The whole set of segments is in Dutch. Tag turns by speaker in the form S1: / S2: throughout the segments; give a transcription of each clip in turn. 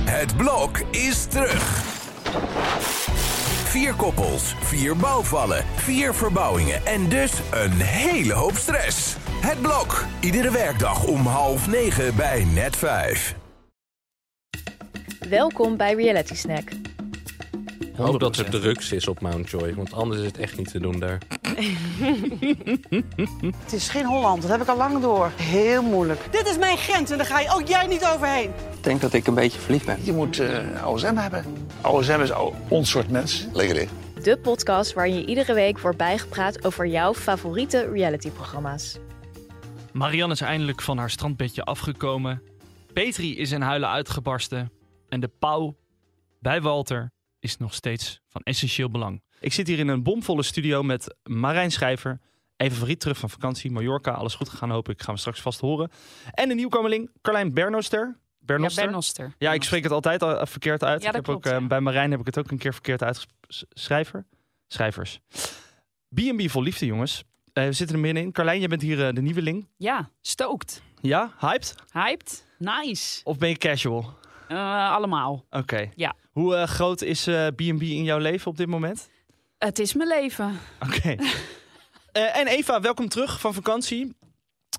S1: Het blok is terug. Vier koppels, vier bouwvallen, vier verbouwingen en dus een hele hoop stress. Het blok, iedere werkdag om half negen bij net vijf.
S2: Welkom bij Reality Snack.
S3: Hoop dat er drugs is op Mountjoy, want anders is het echt niet te doen daar.
S4: Het is geen Holland, dat heb ik al lang door. Heel moeilijk. Dit is mijn grens en daar ga je ook jij niet overheen.
S5: Ik denk dat ik een beetje verliefd ben.
S6: Je moet eh OSM hebben. OSM is o- ons soort mensen.
S7: Lekker dit.
S2: De podcast waarin je iedere week wordt bijgepraat over jouw favoriete realityprogramma's.
S8: Marianne is eindelijk van haar strandbedje afgekomen. Petri is in huilen uitgebarsten. En de pauw bij Walter is nog steeds van essentieel belang. Ik zit hier in een bomvolle studio met Marijn Schrijver. Even verriet terug van vakantie. Mallorca, alles goed gegaan hoop ik. Gaan we straks vast horen. En een nieuwkomeling, Carlijn Bernoster. Bernoster. Ja,
S9: Bernoster.
S8: ik spreek het altijd al eh, verkeerd uit.
S9: Ja,
S8: ik
S9: dat
S8: heb
S9: klopt,
S8: ook, eh,
S9: ja.
S8: Bij Marijn heb ik het ook een keer verkeerd uitgesproken. Schrijver? Schrijvers. B&B vol liefde, jongens. Eh, we zitten er middenin. Carlijn, jij bent hier eh, de nieuweling.
S9: Ja, stookt.
S8: Ja, hyped?
S9: Hyped. Nice.
S8: Of ben je casual? Oké.
S9: Eh, allemaal. Ja.
S8: Hoe eh, groot is eh, B&B in jouw leven op dit moment?
S9: Het is mijn leven.
S8: Oké. Eh, en Eva, welkom terug van vakantie.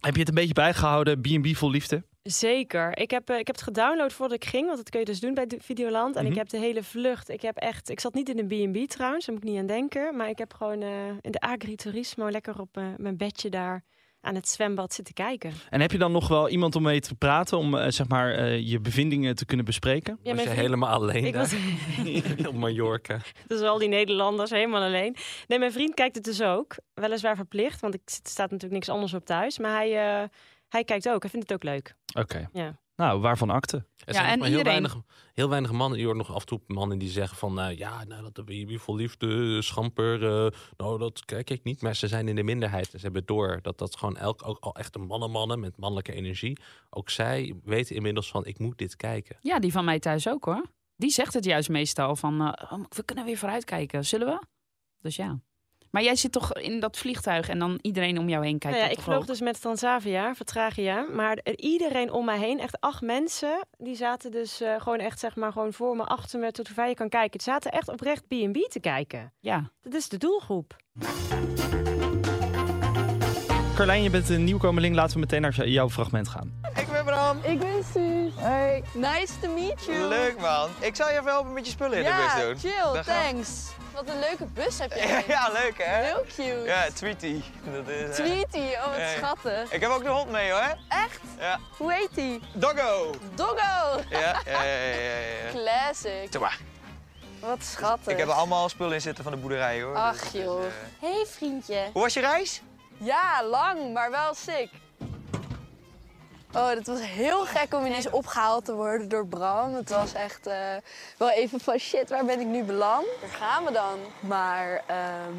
S8: Heb je het een beetje bijgehouden, B&B vol liefde?
S10: Zeker. Ik heb, eh, ik heb het gedownload voordat ik ging, want dat kun je dus doen bij de- Videoland. En
S8: Mhm.
S10: ik heb de hele vlucht. Ik heb echt. Ik zat niet in een B&B trouwens, daar moet ik niet aan denken. Maar ik heb gewoon eh, in de agriturismo lekker op eh, mijn bedje daar aan het zwembad zitten kijken.
S8: En heb je dan nog wel iemand om mee te praten, om eh, zeg maar eh, je bevindingen te kunnen bespreken?
S10: Ja,
S3: was
S10: mijn
S3: je
S10: vriend-
S3: helemaal alleen
S10: ik
S3: daar?
S10: was
S3: op Mallorca.
S10: dus al die Nederlanders helemaal alleen. Nee, mijn vriend kijkt het dus ook. Weliswaar verplicht, want ik zit- er staat natuurlijk niks anders op thuis. Maar hij, eh, hij kijkt ook. Hij vindt het ook leuk.
S8: Oké.
S10: Ja.
S8: Nou, waarvan akte?
S3: Er
S9: Ja,
S3: zijn nog
S9: en
S3: maar heel,
S9: iedereen-
S3: weinig, heel weinig mannen. Je hoort nog af en toe mannen die zeggen van... nou ja, nou, dat baby vol liefde, eh, schamper. eh, nou, dat kijk ik niet. Maar ze zijn in de minderheid. En ze hebben door dat dat gewoon elk... ook al echte mannen-mannen met mannelijke energie... ook zij weten inmiddels van... ik moet dit kijken.
S9: Ja, die van mij thuis ook hoor. Die zegt het juist meestal van, eh, oh, we kunnen weer vooruitkijken. Zullen we? Dus ja. Maar jij zit toch in dat vliegtuig en dan iedereen om jou heen kijkt.
S10: Nou ja,
S9: dat
S10: ik
S9: toch
S10: vloog
S9: ook?
S10: dus met Transavia, Vertragia. Maar er- iedereen om mij heen, echt acht mensen, die zaten dus eh, gewoon echt zeg maar gewoon voor me, achter me, tot hoe ver je kan kijken. Ze zaten echt oprecht B&B te kijken.
S9: Ja.
S10: Dat is de doelgroep.
S8: Carlijn, je bent een nieuwkomeling. Laten we meteen naar jouw fragment gaan.
S4: Ik ben Bram.
S2: Ik ben Suus. Hey. Nice to meet you.
S4: Leuk man. Ik zal je even helpen met je spullen in de bus doen.
S2: chill,
S4: Dan gaan
S2: thanks. Wat een leuke bus heb
S4: we- Ja, leuk hè?
S2: cute.
S4: Ja, Tweety. Dat is, eh,
S2: Tweety, oh
S4: Hey.
S2: schattig.
S4: Ik heb ook de hond mee hoor.
S2: Echt?
S4: Ja.
S2: Hoe heet die?
S4: Doggo.
S2: Doggo.
S4: Ja, ja, ja, ja. ja, ja.
S2: Classic.
S4: Doe maar.
S2: Wat schattig.
S4: Ik heb er allemaal spullen in zitten van de boerderij hoor.
S2: Ach joh.
S4: eh,
S2: Hey vriendje.
S4: Hoe was je reis?
S2: Ja, lang, maar wel sick. Oh, dat was heel gek om ineens opgehaald te worden door Bram. Het was echt eh, wel even van shit, waar ben ik nu beland? Daar gaan we dan. Maar ehm,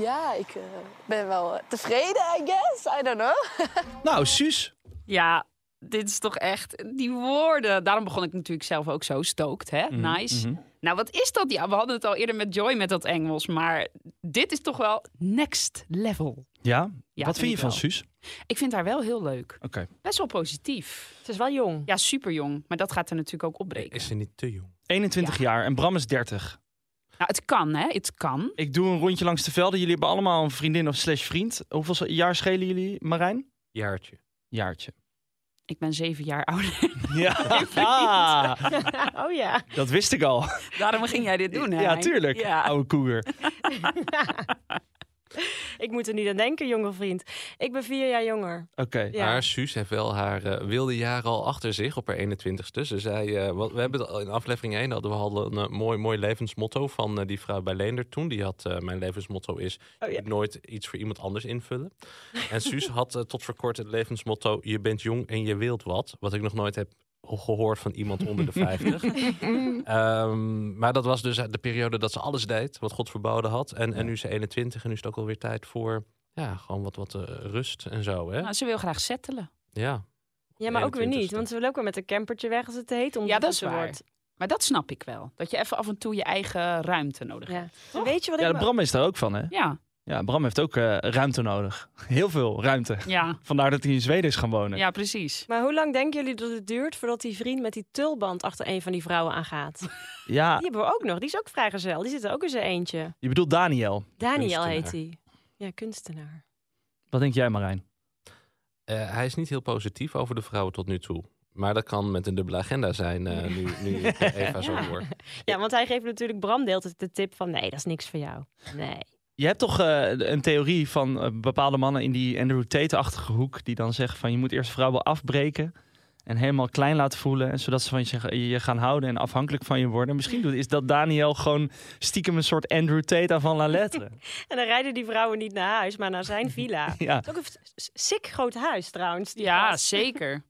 S2: ja, ik eh, ben wel eh, tevreden, I guess. I don't know.
S8: Nou, Suus.
S9: Ja, dit is toch echt die woorden. Daarom begon ik natuurlijk zelf ook zo stookt, hè?
S8: Mhm,
S9: nice. Nou, wat is dat? Ja, we hadden het al eerder met Joy met dat Engels, maar dit is toch wel next level.
S8: Ja?
S9: Ja,
S8: Wat vind je
S9: ik
S8: van
S9: wel.
S8: Suus?
S9: Ik vind haar wel heel leuk.
S8: Oké.
S9: Best wel positief.
S10: Het is wel jong.
S9: Ja, super jong, maar dat gaat er natuurlijk ook opbreken.
S3: Is ze niet te jong?
S8: 21 jaar en Bram is 30.
S9: Nou, het kan, hè? Het kan.
S8: Ik doe een rondje langs de velden. Jullie hebben allemaal een vriendin of slash vriend. Hoeveel jaar schelen jullie, Marijn?
S3: Jaartje.
S8: Jaartje.
S9: Ik ben zeven jaar ouder.
S8: Ja, Ah,
S10: oh ja.
S8: dat wist ik al.
S9: Daarom ging jij dit doen, hè?
S8: ja,
S9: Henk?
S8: tuurlijk.
S9: Ja.
S8: Oude koeger.
S10: Ik moet er niet aan denken, jonge vriend. Ik ben vier jaar jonger.
S8: Oké.
S10: Ja.
S3: Maar Suus heeft wel haar eh, wilde jaren al achter zich op haar 21ste. Ze zei, eh, wat, we hebben het al in aflevering 1 hadden we al een eh, mooi, mooi levensmotto van eh, die vrouw bij Leender toen. Die had, eh, mijn levensmotto is, je moet nooit iets voor iemand anders invullen. En Suus had eh, tot voor kort het levensmotto, je bent jong en je wilt wat. Wat ik nog nooit heb gehoord van iemand onder de 50. Ehm, maar dat was dus de periode dat ze alles deed wat God verboden had. En, en nu is ze 21 en nu is het ook alweer tijd voor... Ja, gewoon wat, wat eh, rust en zo, hè?
S9: Nou, ze wil graag settelen.
S3: Ja.
S10: Ja, maar ook weer niet,
S3: 21ste.
S10: want ze willen ook weer met een campertje weg als het te
S9: Ja,
S10: heet.
S9: dat is
S10: ondertussen
S9: waar.
S10: wordt.
S9: Maar dat snap ik wel. Dat je even af en toe je eigen ruimte nodig hebt.
S10: Ja. En Weet je wat
S8: Ja,
S10: ik...
S8: de
S10: me-
S8: Bram is daar ook van, hè?
S9: Ja.
S8: Ja, Bram heeft ook eh, ruimte nodig. Heel veel ruimte.
S9: Ja,
S8: Vandaar dat hij in Zweden is gaan wonen.
S9: ja precies.
S10: Maar hoe lang denken jullie dat het duurt voordat die vriend met die tulband achter een van die vrouwen aangaat?
S8: Ja,
S10: Die hebben we ook nog. Die is ook vrijgezel. Die zit er ook in zijn eentje.
S8: je bedoelt Daniel.
S10: Daniel
S3: Kunstenaar.
S10: heet hij. Ja, kunstenaar.
S8: Wat denk jij, Marijn?
S3: Eh, hij is niet heel positief over de vrouwen tot nu toe. Maar dat kan met een dubbele agenda zijn, eh, nu, nu ik eh, Eva zo
S10: Ja.
S3: hoor.
S10: Ja, want hij geeft natuurlijk Bram deelt het de tip van nee, dat is niks voor jou. Nee.
S8: Je hebt toch eh, een theorie van eh, bepaalde mannen in die Andrew Tate-achtige hoek... die dan zeggen van je moet eerst vrouwen afbreken... en helemaal klein laten voelen... En zodat ze van je, zeggen- je gaan houden en afhankelijk van je worden. Misschien doet- is dat Daniel gewoon stiekem een soort Andrew Tate aan van La Lettre.
S10: En dan rijden die vrouwen niet naar huis, maar naar zijn villa. Het
S8: ja.
S10: is ook een s- s- sick groot huis trouwens. die
S9: Ja,
S10: gast.
S9: zeker.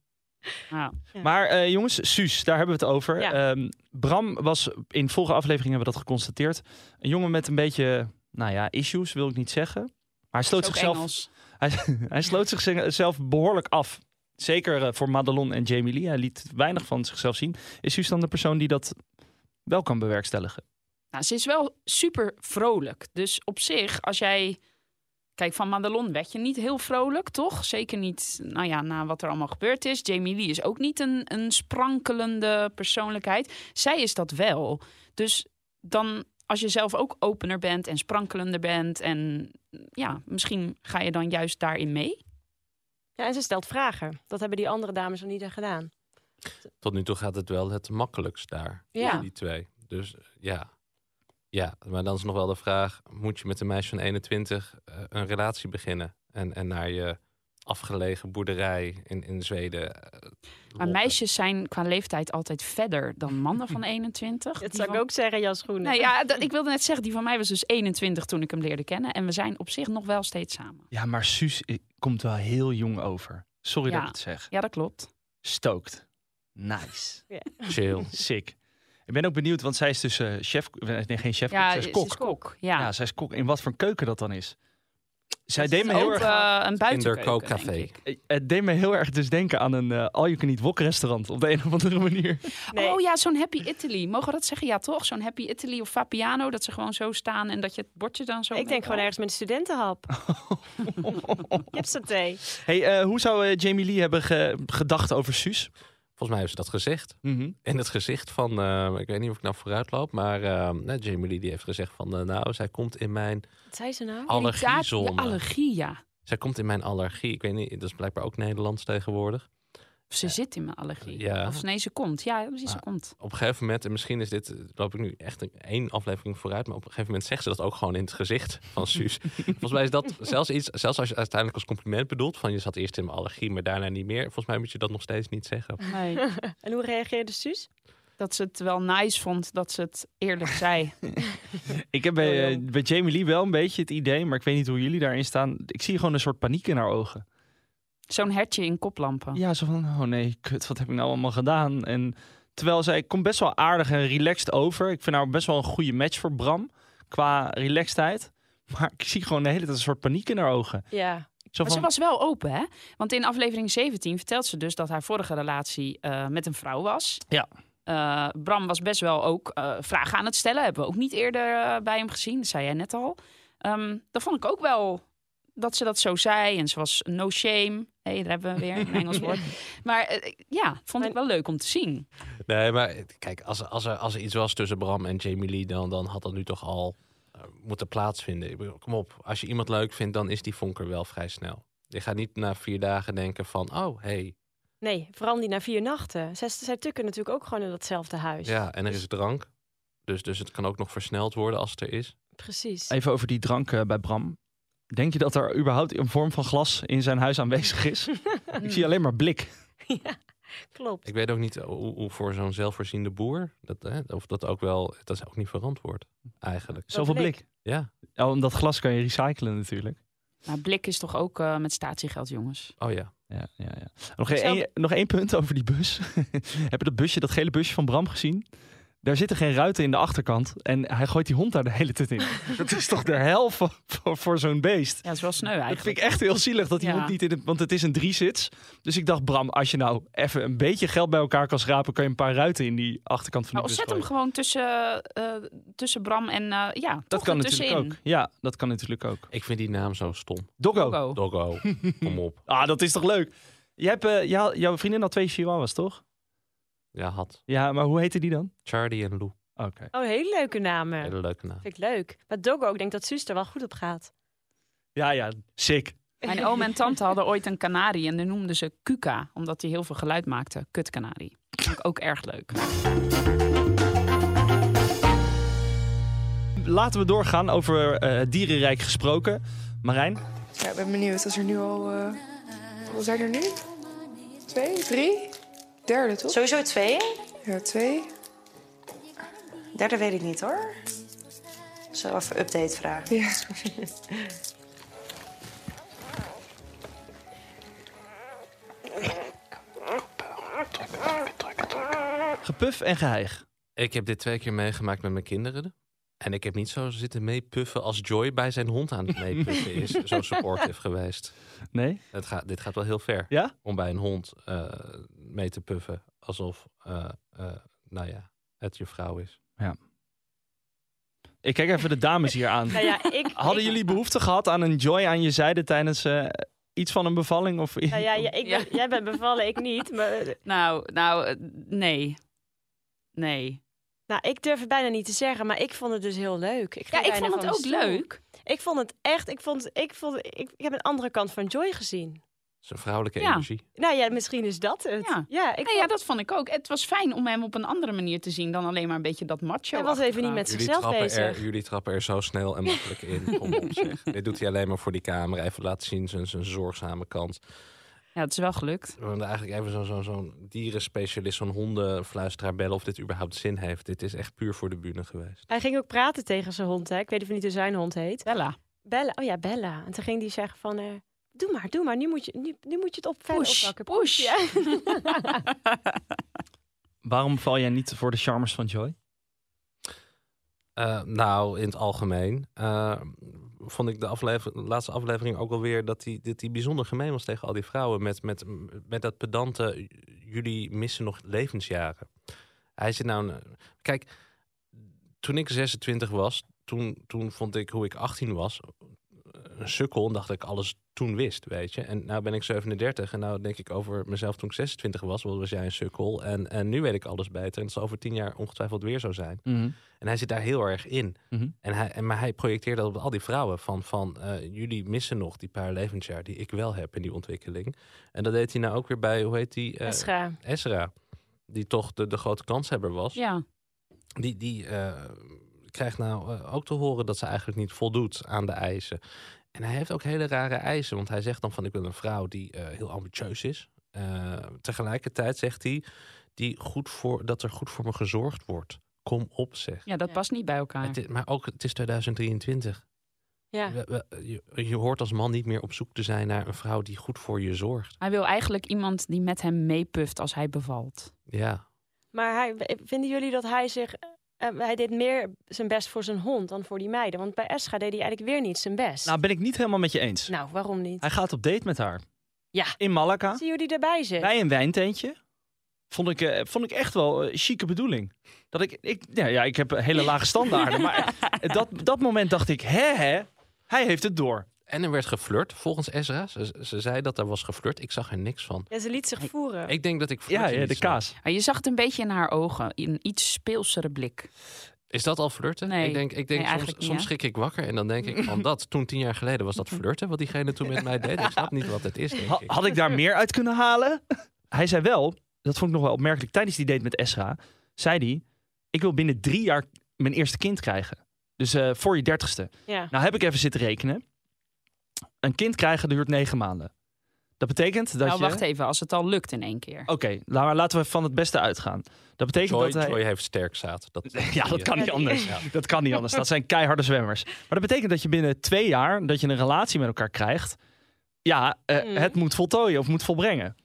S9: Ja.
S8: Maar eh, jongens, Suus, daar hebben we het over.
S10: Ja.
S8: Ehm, Bram was, in vorige aflevering hebben we dat geconstateerd, een jongen met een beetje, nou ja, issues wil ik niet zeggen. Maar hij sloot,
S9: Is ook
S8: zichzelf,
S9: Engels.
S8: hij, hij sloot zichzelf behoorlijk af. Zeker eh, voor Madelon en Jamie Lee. Hij liet weinig van zichzelf zien. Is Suus dan de persoon die dat wel kan bewerkstelligen?
S9: Nou, ze is wel super vrolijk. Dus op zich, als jij... Kijk, van Madelon werd je niet heel vrolijk, toch? Zeker niet, nou ja, na wat er allemaal gebeurd is. Jamie Lee is ook niet een, een sprankelende persoonlijkheid. Zij is dat wel. Dus dan, als je zelf ook opener bent en sprankelender bent... en ja, misschien ga je dan juist daarin mee.
S10: Ja, en ze stelt vragen. Dat hebben die andere dames nog niet aan gedaan.
S3: Tot nu toe gaat het wel het makkelijkst daar,
S9: Ja.
S3: die twee. Dus eh, ja. ja, maar dan is nog wel de vraag... moet je met een meisje van 21 eh, een relatie beginnen? En, en naar je afgelegen boerderij in, in Zweden... eh,
S9: Maar
S3: lokken?
S9: meisjes zijn qua leeftijd altijd verder dan mannen van 21.
S10: Dat
S9: Die
S10: zou
S9: van-
S10: ik ook zeggen, Jan Schoenen.
S9: Nee, ja, dat, ik wilde net zeggen, die van mij was dus 21 toen ik hem leerde kennen. En we zijn op zich nog wel steeds samen.
S8: Ja, maar Suus eh, komt wel heel jong over. Sorry dat
S9: Ja.
S8: ik het zeg.
S9: Ja, dat klopt.
S8: Stookt. Nice.
S3: Chill.
S8: Sick. Ik ben ook benieuwd, want zij is dus eh, chef... eh, Nee, geen chef,
S9: ja,
S8: zij is kok.
S9: Ja,
S8: Ja, zij is kok. In wat voor keuken dat dan is? Zij deed me
S9: ook
S8: heel erg,
S9: eh, een
S3: Kinderkookcafé.
S9: buitenkeuken, denk ik.
S8: eh, het deed me heel erg dus denken aan een eh, all you can eat wok restaurant op de een of andere manier.
S10: Nee.
S9: Oh ja, zo'n Happy Italy. Mogen we dat zeggen? Ja, toch? Zo'n Happy Italy of Fapiano. Dat ze gewoon zo staan en dat je het bordje dan zo...
S10: ik denk gewoon ergens met een studentenhap. Je hebt saté.
S8: Hey, eh, hoe zou eh, Jamie Lee hebben ge- gedacht over Suus?
S3: Volgens mij heeft ze dat gezegd. in het gezicht van, eh, ik weet niet of ik nou vooruit loop, maar eh, nou, Jamie Lee die heeft gezegd van, eh, nou, zij komt in mijn
S10: Wat zei ze
S9: Ah.
S8: Oh,
S10: nou?
S9: Allergiezone.
S3: allergiezone.
S9: Allergie, ja.
S3: zij komt in mijn allergie. Ik weet niet, dat is blijkbaar ook Nederlands tegenwoordig.
S9: Of ze zit in mijn allergie.
S3: Ja.
S9: Of ze, nee, ze komt. Ja, precies, ze
S3: Ah.
S9: komt.
S3: Op een gegeven moment, en misschien is dit, eh, loop ik nu echt een, één aflevering vooruit, maar op een gegeven moment zegt ze dat ook gewoon in het gezicht van Suus. Volgens mij is dat zelfs iets, zelfs als je uiteindelijk als compliment bedoelt, van je zat eerst in mijn allergie, maar daarna niet meer. Volgens mij moet je dat nog steeds niet zeggen.
S9: Nee.
S10: En hoe reageerde Suus?
S9: dat ze het wel nice vond dat ze het eerlijk zei.
S8: Ik heb bij,
S10: Heel
S8: eh, bij Jamie Lee wel een beetje het idee, maar ik weet niet hoe jullie daarin staan. Ik zie gewoon een soort paniek in haar ogen.
S9: Zo'n hertje in koplampen.
S8: Ja, zo van, oh nee, kut, wat heb ik nou allemaal gedaan? En terwijl zij komt best wel aardig en relaxed over. Ik vind haar best wel een goede match voor Bram, qua relaxedheid. Maar ik zie gewoon de hele tijd een soort paniek in haar ogen.
S10: Ja.
S8: Zo van,
S9: Maar ze was wel open, hè? Want in aflevering 17 vertelt ze dus dat haar vorige relatie eh, met een vrouw was.
S8: Ja.
S9: Eh, Bram was best wel ook eh, vragen aan het stellen. Hebben we ook niet eerder eh, bij hem gezien. Dat zei jij net al. Ehm dat vond ik ook wel dat ze dat zo zei. En ze was no shame. Hé, hey, daar hebben we weer een Engels woord. Maar eh, ja, vond ik wel leuk om te zien.
S3: Nee, maar kijk, als, er- als, er, als er iets was tussen Bram en Jamie Lee, dan, dan had dat nu toch al eh, moeten plaatsvinden. Ik bedoel, Kom op, als je iemand leuk vindt, dan is die vonker wel vrij snel. Je gaat niet na vier dagen denken van, oh, hey,
S10: Nee, vooral die na vier nachten. Zij, zij tukken natuurlijk ook gewoon in datzelfde huis.
S3: ja, en er is drank. Dus, dus het kan ook nog versneld worden als het er is.
S10: Precies.
S8: Even over die drank eh, bij Bram. Denk je dat er überhaupt een vorm van glas in zijn huis aanwezig is? Ik zie alleen maar blik.
S10: Klopt.
S3: Ik weet ook niet eh, hoe, hoe voor zo'n zelfvoorziende boer, dat, hè, of dat ook wel, dat is ook niet verantwoord eigenlijk.
S8: Zoveel blik.
S10: blik.
S3: Ja,
S8: Ja, omdat Oh, glas kan je recyclen natuurlijk.
S9: Maar blik is toch ook eh, met statiegeld, jongens.
S3: oh ja.
S8: Ja, ja, ja. Nog, één,
S10: Hetzelfde-
S8: één- nog één punt over die bus. Heb je dat busje, dat gele busje van Bram gezien? Daar zitten geen ruiten in de achterkant. En hij gooit die hond daar de hele tijd in. dat is toch de hel voor, voor, voor zo'n beest?
S9: Ja, dat is wel sneu
S8: Dat
S9: eigenlijk.
S8: vind ik echt heel zielig dat die
S9: Ja.
S8: hond niet in het... Want het is een driezits. Dus ik dacht, Bram, als je nou even een beetje geld bij elkaar kan schrapen... kan je een paar ruiten in die achterkant van de
S9: Oh,
S8: bus
S9: zet hem
S8: gooien.
S9: gewoon tussen, eh, tussen Bram en... eh, ja, toch
S8: Dat kan natuurlijk
S9: ertussenin.
S8: ook. Ja, dat kan natuurlijk ook.
S3: Ik vind die naam zo stom.
S8: Doggo.
S9: Doggo.
S3: Doggo, kom op.
S8: Ah, dat is toch leuk? Je hebt, eh, jou- jouw vriendin had twee chihuahuas, toch?
S3: Ja, had.
S8: Ja, maar hoe heette die dan?
S3: Charlie en Lou.
S8: Oké.
S10: Oh, hele leuke namen.
S3: Hele leuke naam.
S10: Vind ik leuk. Maar Doggo, ik denk dat Suus er wel goed op gaat.
S8: Ja, ja, sick.
S9: Mijn oom en tante hadden ooit een kanarie en die noemden ze Kuka, omdat die heel veel geluid maakte. Kutkanarie. Vond ik ook erg leuk.
S8: Laten we doorgaan over eh, het dierenrijk gesproken. Marijn,
S2: Ja, ik ben benieuwd. Is er nu al... eh, Hoeveel zijn er nu? Twee? Drie? Derde, toch?
S7: Sowieso twee.
S2: Ja, twee.
S7: Derde weet ik niet hoor. Zo even update vragen.
S2: Ja.
S8: gepuf en geheig.
S3: Ik heb dit twee keer meegemaakt met mijn kinderen. En ik heb niet zo zitten meepuffen als Joy bij zijn hond aan het meepuffen is. Zo supportive geweest.
S8: Nee?
S3: Het gaat, dit gaat wel heel ver.
S8: Ja?
S3: Om bij een hond eh, mee te puffen. Alsof, eh, eh, nou ja, het je vrouw is.
S8: Ik kijk even de dames hier aan.
S10: Nou ja, ik,
S8: Hadden
S10: ik-
S8: jullie behoefte gehad aan een joy aan je zijde tijdens eh, iets van een bevalling? Of...
S10: Nou ja, ja, ik ben-
S9: Ja.
S10: jij bent bevallen, ik niet. Maar, eh,
S9: Nou, nou, eh, nee. Nee.
S10: nou, ik durf het bijna niet te zeggen, maar ik vond het dus heel leuk. Ik
S9: Ja,
S10: ging
S9: ik
S10: bijna
S9: vond het
S10: van
S9: ook
S10: mijn stoel.
S9: leuk.
S10: Ik vond het echt, ik, vond, ik, vond, ik, ik heb een andere kant van Joy gezien.
S3: Zijn vrouwelijke
S9: Ja.
S3: energie.
S10: Nou ja, misschien is dat het.
S9: Ja.
S10: ik
S9: Nee, ja,
S10: vond-
S9: dat vond ik ook. Het was fijn om hem op een andere manier te zien dan alleen maar een beetje dat macho.
S10: Hij was even niet
S9: achtergrond.
S10: met
S3: Jullie
S10: zichzelf
S3: trappen,
S10: bezig.
S3: er, jullie trappen er zo snel en makkelijk in. Kom op, zeg. Dit doet hij alleen maar voor die camera. Even laten zien zijn, zijn zorgzame kant.
S9: Ja, het is wel gelukt.
S3: We moeten eigenlijk even zo'n zo, zo'n dierenspecialist, zo'n hondenfluisteraar bellen of dit überhaupt zin heeft. Dit is echt puur voor de bühne geweest.
S10: Hij ging ook praten tegen zijn hond, hè. Ik weet even niet hoe zijn hond heet.
S9: Bella.
S10: Bella, oh ja, Bella. En toen ging die zeggen van, eh, doe maar, doe maar. Nu moet je, nu, nu moet je het op verder
S9: Push,
S10: oppakken.
S9: push.
S10: Ja.
S8: Waarom val jij niet voor de charmers van joy?
S3: Eh, nou, in het algemeen eh, vond ik de aflever- laatste aflevering ook alweer dat hij dat die bijzonder gemeen was tegen al die vrouwen. Met, met, met dat pedante, "J- jullie missen nog levensjaren. Hij zit nou... een- Kijk, toen ik 26 was, toen, toen vond ik hoe ik 18 was een sukkel en dacht dat ik alles toen wist, weet je. En nou ben ik 37 en nou denk ik over mezelf toen ik 26 was, wat was jij een sukkel. En, en nu weet ik alles beter en het zal over 10 jaar ongetwijfeld weer zo zijn. En hij zit daar heel erg in.
S8: Mhm.
S3: En hij, en, maar hij projecteert dat op al die vrouwen. Van, van eh, jullie missen nog die paar levensjaar die ik wel heb in die ontwikkeling. En dat deed hij nou ook weer bij, hoe heet die? eh,
S10: Esra.
S3: Ezra. Die toch de, de grote kanshebber was.
S9: Ja.
S3: Die, die eh, krijgt nou eh, ook te horen dat ze eigenlijk niet voldoet aan de eisen. En hij heeft ook hele rare eisen. Want hij zegt dan van ik wil een vrouw die eh, heel ambitieus is. Eh, tegelijkertijd zegt hij die goed voor, dat er goed voor me gezorgd wordt. Kom op zeg.
S9: ja, dat past niet bij elkaar.
S3: Het is- maar ook, het is 2023.
S10: Ja.
S3: We- we- je, je hoort als man niet meer op zoek te zijn naar een vrouw die goed voor je zorgt.
S9: Hij wil eigenlijk iemand die met hem meepuft als hij bevalt.
S3: Ja.
S10: Maar hij, vinden jullie dat hij zich... eh, hij deed meer zijn best voor zijn hond dan voor die meiden. Want bij Escha deed hij eigenlijk weer niet zijn best.
S8: Nou, ben ik niet helemaal met je eens.
S10: Nou, waarom niet?
S8: Hij gaat op date met haar.
S10: Ja.
S8: In Malaga.
S10: Zie jullie erbij zitten?
S8: Bij een wijnteentje. Vond ik, eh, vond ik echt wel een chique bedoeling. Dat ik, ik, ja, ja, ik heb eh, hele lage standaarden. maar dat, dat moment dacht ik, hè hè, hij heeft het door.
S3: En er werd geflirt, volgens Ezra. Ze, ze zei dat er was geflirt. Ik zag er niks van.
S10: Ja, ze liet zich voeren.
S3: Ik denk dat ik
S8: Ja,
S3: flirten
S8: ja
S3: niet
S8: de
S3: snap.
S8: kaas.
S9: Maar je zag het een beetje in haar ogen. Een iets speelsere blik.
S3: Is dat al flirten?
S9: Nee.
S3: Ik denk, ik denk
S9: Nee,
S3: soms,
S9: eigenlijk niet,
S3: soms
S9: hè?
S3: schrik ik wakker en dan denk ik van dat. Toen tien jaar geleden was dat flirten wat diegene toen met mij deed. Ik snap niet wat het is, denk
S8: Ha-
S3: ik.
S8: had ik daar meer uit kunnen halen? Hij zei wel, dat vond ik nog wel opmerkelijk, tijdens die date met Esra, zei hij, ik wil binnen drie jaar mijn eerste kind krijgen. Dus eh, voor je dertigste.
S10: Ja.
S8: Nou heb ik even zitten rekenen. Een kind krijgen duurt negen maanden. Dat betekent dat
S9: nou,
S8: je...
S9: wacht even. Als het al lukt in één keer.
S8: Oké, la- maar laten we van het beste uitgaan. Dat betekent
S3: Joy,
S8: dat hij...
S3: Joy heeft sterk zaad. Dat, eh,
S8: Ja, dat kan niet
S10: Ja,
S8: anders. Dat kan niet anders. Dat zijn keiharde zwemmers. Maar dat betekent dat je binnen twee jaar dat je een relatie met elkaar krijgt. Ja, eh,
S10: Mm.
S8: het moet voltooien of moet volbrengen.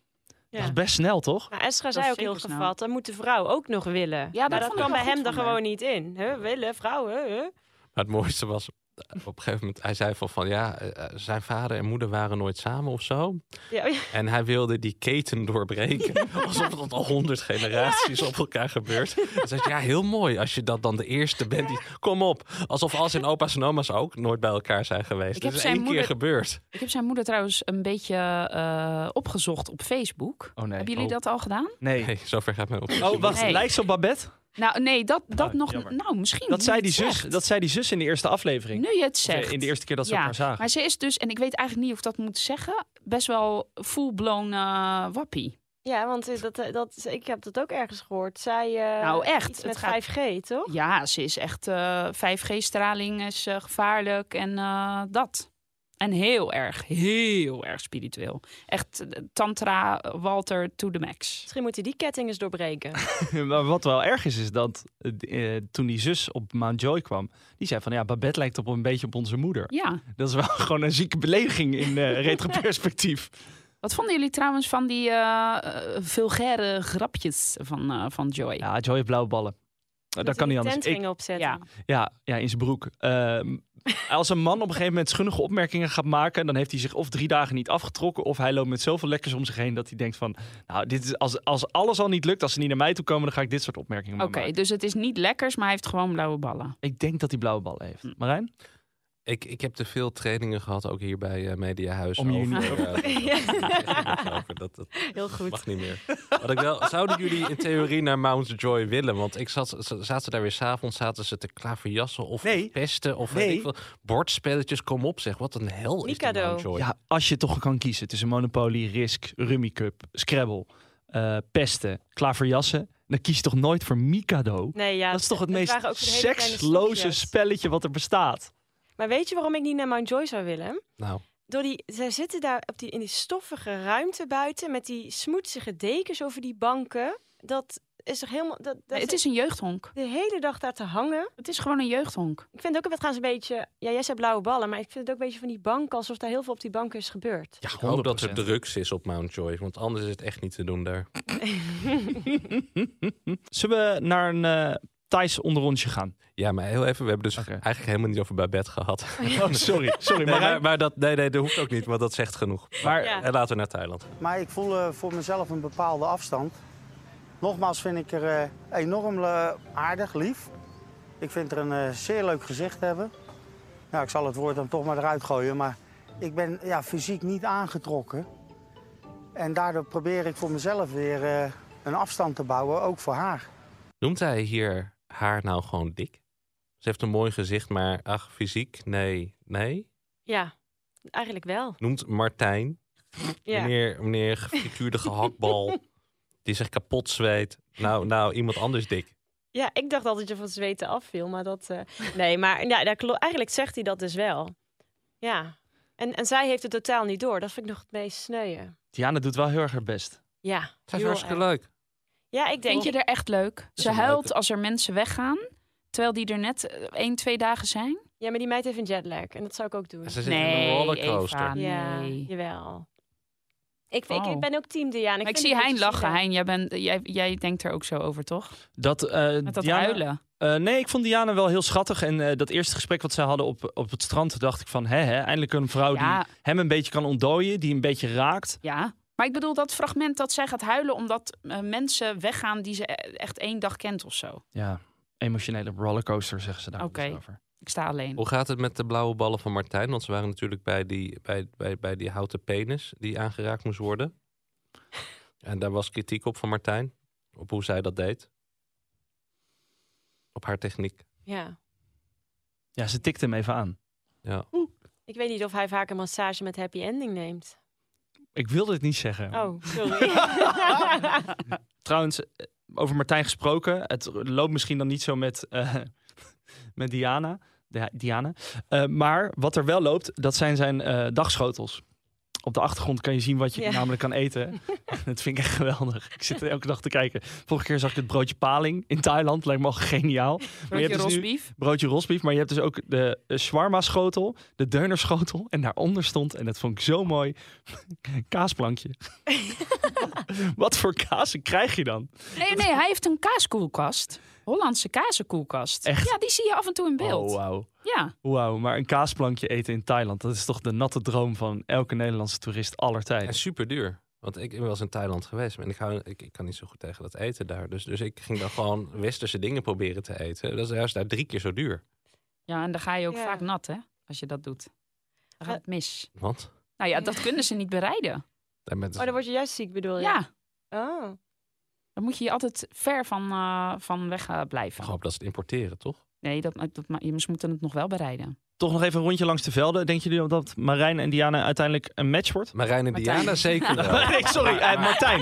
S8: Dat is best snel, toch?
S10: Maar Estra
S9: Dat
S10: zei
S9: is
S10: ook heel
S9: zeker snel.
S10: gevat, dan moet de vrouw ook nog willen.
S9: dat
S10: maar dat
S9: vond ik
S10: kan
S9: wel
S10: bij
S9: goed
S10: hem er
S9: van
S10: gewoon niet in. Huh? Willen, vrouwen, huh?
S3: Maar het mooiste was, eh, op een gegeven moment, hij zei van, van ja, eh, eh, zijn vader en moeder waren nooit samen of zo.
S10: Ja, ja.
S3: En hij wilde die keten doorbreken. Alsof dat al honderd generaties op elkaar gebeurt. Hij zei, ja, heel mooi als je dat dan de eerste bent. Die... Kom op. Alsof als en opa's en oma's ook nooit bij elkaar zijn geweest.
S9: Ik
S3: dat
S9: heb
S3: is
S9: zijn
S3: één keer
S9: moeder-
S3: gebeurd.
S9: Ik heb zijn moeder trouwens een beetje eh, opgezocht op Facebook.
S8: Oh nee.
S9: Hebben jullie
S8: Oh.
S9: dat al gedaan?
S8: Nee.
S3: Nee, zover gaat mijn op.
S8: Oh, wacht.
S9: Nee.
S8: Lijkt ze op Babette?
S9: Nou, nee, dat, dat
S8: Oh,
S9: nog.
S8: jammer.
S9: Nou, misschien.
S8: Dat
S9: nu
S8: zei,
S9: je
S8: die
S9: het
S8: zus,
S9: zegt.
S8: dat zei die zus in de eerste aflevering.
S9: Nu je het
S8: Of, eh,
S9: zegt.
S8: In de eerste keer dat ze
S9: Ja,
S8: elkaar zagen.
S9: Maar ze is dus, en ik weet eigenlijk niet of ik dat moet zeggen, best wel full-blown eh, wappie.
S10: Ja, want eh, dat, eh, dat, ik heb dat ook ergens gehoord. Zij, eh,
S9: Nou, echt.
S10: Iets
S9: Het
S10: met
S9: gaat-
S10: 5G, toch?
S9: Ja, ze is echt eh, 5G-straling is eh, gevaarlijk en eh, dat. En heel erg, heel erg spiritueel. Echt eh, Tantra eh, Walter to the max.
S10: Misschien moet hij die ketting eens doorbreken.
S8: maar wat wel erg is, is dat eh, eh, toen die zus op Mount Joy kwam, die zei van ja, Babette lijkt op een beetje op onze moeder.
S9: Ja.
S8: Dat is wel gewoon een zieke belediging in eh retroperspectief.
S9: Wat vonden jullie trouwens van die eh, eh, vulgaire grapjes van, eh, van Joy?
S8: Ja, Joy heeft blauwe ballen. Eh, Dat kan niet anders. Ik,
S10: Tentringen opzetten.
S9: Ja.
S8: ja, ja, in zijn broek. Ehm, als een man op een gegeven moment schunnige opmerkingen gaat maken, dan heeft hij zich of drie dagen niet afgetrokken, of hij loopt met zoveel lekkers om zich heen dat hij denkt van, nou, dit is, als, als alles al niet lukt, als ze niet naar mij toe komen, dan ga ik dit soort opmerkingen
S9: Oké,
S8: maar maken.
S9: dus het is niet lekkers, maar hij heeft gewoon blauwe ballen.
S8: Ik denk dat hij blauwe ballen
S10: Hm.
S8: heeft. Marijn?
S3: Ik, ik heb te veel trainingen gehad, ook hier bij eh, Mediahuis.
S8: Om jullie
S3: over,
S8: niet
S3: eh, over dat, dat
S10: Heel goed.
S3: Mag niet meer. Wat ik wel, zouden jullie in theorie naar Mount Joy willen? Want ik zat, z- zaten ze daar weer s'avonds, zaten ze te klaverjassen of
S8: Nee.
S3: pesten of
S8: Nee.
S3: weet ik veel. Bordspelletjes, kom op zeg. Wat een hel is die
S10: Mikado.
S3: Mount Joy.
S8: Ja, als je toch kan kiezen tussen Monopoly, Risk, Rummy Cup, Scrabble, eh, pesten, klaverjassen, dan kies je toch nooit voor Mikado?
S10: Nee, ja.
S8: dat is toch het
S10: het
S8: meest
S10: waren ook hele kleine
S8: seksloze
S10: stokjes.
S8: spelletje wat er bestaat?
S10: Maar weet je waarom ik niet naar Mount Joy zou willen?
S3: Nou,
S10: Door die, zij zitten daar op die, in die stoffige ruimte buiten met die smoetsige dekens over die banken. Dat is toch helemaal... Dat, dat
S9: Nee, het is een jeugdhonk.
S10: de hele dag daar te hangen.
S9: Het is gewoon een jeugdhonk.
S10: Ik vind het ook het gaan ze een beetje... Ja, jij zei blauwe ballen, maar ik vind het ook een beetje van die banken... alsof daar heel veel op die banken is gebeurd.
S3: ik hoop dat er
S8: 100%.
S3: drugs is op Mount Joy, want anders is het echt niet te doen daar.
S8: Zullen we naar een eh Thais onderrondje gaan?
S3: Ja, maar heel even, we hebben dus
S8: Oké.
S3: eigenlijk helemaal niet over Babette gehad.
S8: Oh, sorry. Sorry,
S3: Nee,
S8: eh, Marijn.
S3: maar, maar dat, nee, nee, dat hoeft ook niet, want dat zegt genoeg.
S8: Maar-
S3: Maar
S10: Ja.
S3: eh, laten we naar Thailand.
S4: Maar ik voel eh, voor mezelf een bepaalde afstand. Nogmaals vind ik er eh, enorm eh, aardig, lief. Ik vind er een eh, zeer leuk gezicht hebben. Nou, ik zal het woord dan toch maar eruit gooien. Maar ik ben ja, fysiek niet aangetrokken. En daardoor probeer ik voor mezelf weer eh, een afstand te bouwen, ook voor haar.
S3: Noemt hij hier haar nou gewoon dik? Ze heeft een mooi gezicht, maar ach, fysiek, nee, nee.
S10: Ja, eigenlijk wel.
S3: Noemt Martijn,
S10: Ja.
S3: meneer, meneer gefrituurde gehaktbal, die zich kapot zweet. Nou, nou, iemand anders dik.
S10: Ja, ik dacht altijd dat je van zweten afviel, maar dat... eh, nee, maar ja, daar klo- eigenlijk zegt hij dat dus wel. Ja. En, en zij heeft het totaal niet door. Dat vind ik nog het meest sneuien.
S8: Diana doet wel heel erg haar best.
S10: Ja.
S3: Dat is
S10: heel
S3: hartstikke
S10: erg.
S3: leuk.
S10: Ja, ik denk...
S9: Vind je er echt leuk?
S3: is
S9: Ze
S3: een
S9: huilt
S3: leuke.
S9: als er mensen weggaan, terwijl die er net eh, één, twee dagen zijn.
S10: Ja, maar die meid heeft een jetlag. En dat zou ik ook doen.
S3: Ze zit in
S9: Nee,
S3: een rollercoaster.
S9: Eva.
S10: Ja,
S9: Nee.
S10: jawel. Ik, ik, ik
S9: Oh.
S10: ben ook team Diana.
S9: Maar ik
S10: vind
S9: zie
S10: het
S9: Hein
S10: een
S9: lachen.
S10: beetje
S9: Hein, jij, bent, jij, jij denkt er ook zo over, toch?
S8: Dat, eh,
S9: Met dat
S8: Diana-
S9: huilen.
S8: Eh, nee, ik vond Diana wel heel schattig. En eh, dat eerste gesprek wat zij hadden op, op het strand, dacht ik van... Hè, hè, eindelijk een vrouw
S9: Ja.
S8: Oh, die hem een beetje kan ontdooien, die een beetje raakt.
S9: Ja. Maar ik bedoel dat fragment dat zij gaat huilen omdat eh, mensen weggaan die ze eh, echt één dag kent of zo.
S8: Ja, emotionele rollercoaster zeggen ze daar
S9: Oké.
S8: dus over.
S9: Ik sta alleen.
S3: Hoe gaat het met de blauwe ballen van Martijn? Want ze waren natuurlijk bij die, bij, bij, bij die houten penis die aangeraakt moest worden. En daar was kritiek op van Martijn, op hoe zij dat deed. Op haar techniek.
S10: sneu. Ja.
S8: Ja, ze tikte hem even aan.
S3: Ja.
S10: Ik weet niet of hij vaak een massage met happy ending neemt.
S8: Ik wilde het niet zeggen.
S10: Oh, sorry. Oh,
S8: Trouwens, eh, over Martijn gesproken. Het loopt misschien dan niet zo met, eh, met Diana. Dia- Diana. Eh, maar wat er wel loopt, dat zijn zijn eh, dagschotels. Op de achtergrond kan je zien wat je
S10: Ja.
S8: namelijk kan eten. dat vind ik echt geweldig. Ik zit er elke dag te kijken. Vorige keer zag ik het broodje paling in Thailand. Lijkt me al geniaal. Maar je
S9: Broodje
S8: hebt dus nu
S9: rosbief.
S8: broodje rosbief. Maar je hebt dus ook de eh, shawarma-schotel, de deunerschotel. En daaronder stond, en dat vond ik zo mooi, kaasplankje. Wat voor kaas krijg je dan?
S9: Nee, nee, hij heeft een kaaskoelkast. Hollandse kazenkoelkast.
S8: Echt?
S9: Ja, die zie je af en toe in beeld.
S8: Oh, wauw.
S9: Ja.
S8: Wauw, maar een kaasplankje eten in Thailand, dat is toch de natte droom van elke Nederlandse toerist aller tijden.
S3: En super duur. Want ik ben wel eens in Thailand geweest. En ik, hou, ik, ik kan niet zo goed tegen dat eten daar. Dus, dus ik ging dan gewoon westerse dingen proberen te eten. Dat is juist daar drie keer zo duur.
S9: ja, en dan ga je ook
S10: Ja.
S9: vaak nat, hè? Als je dat doet. Dan gaat het mis.
S3: Want?
S9: Nou ja,
S10: Ja.
S9: dat kunnen ze niet bereiden.
S3: daar met-
S10: Oh, dan word je juist ziek, bedoel je?
S9: Ja,
S10: Oh.
S9: dan moet je je altijd ver van, eh, van weg eh, blijven.
S3: Ik hoop dat ze het importeren, toch?
S9: Nee, dat, eh, dat, maar ze moeten het nog wel bereiden.
S8: Toch nog even een rondje langs de velden. Denken jullie dat Marijn en Diana uiteindelijk een match wordt?
S3: Marijn en
S9: Martijn.
S3: Diana zeker wel.
S8: nee, sorry, eh, Martijn.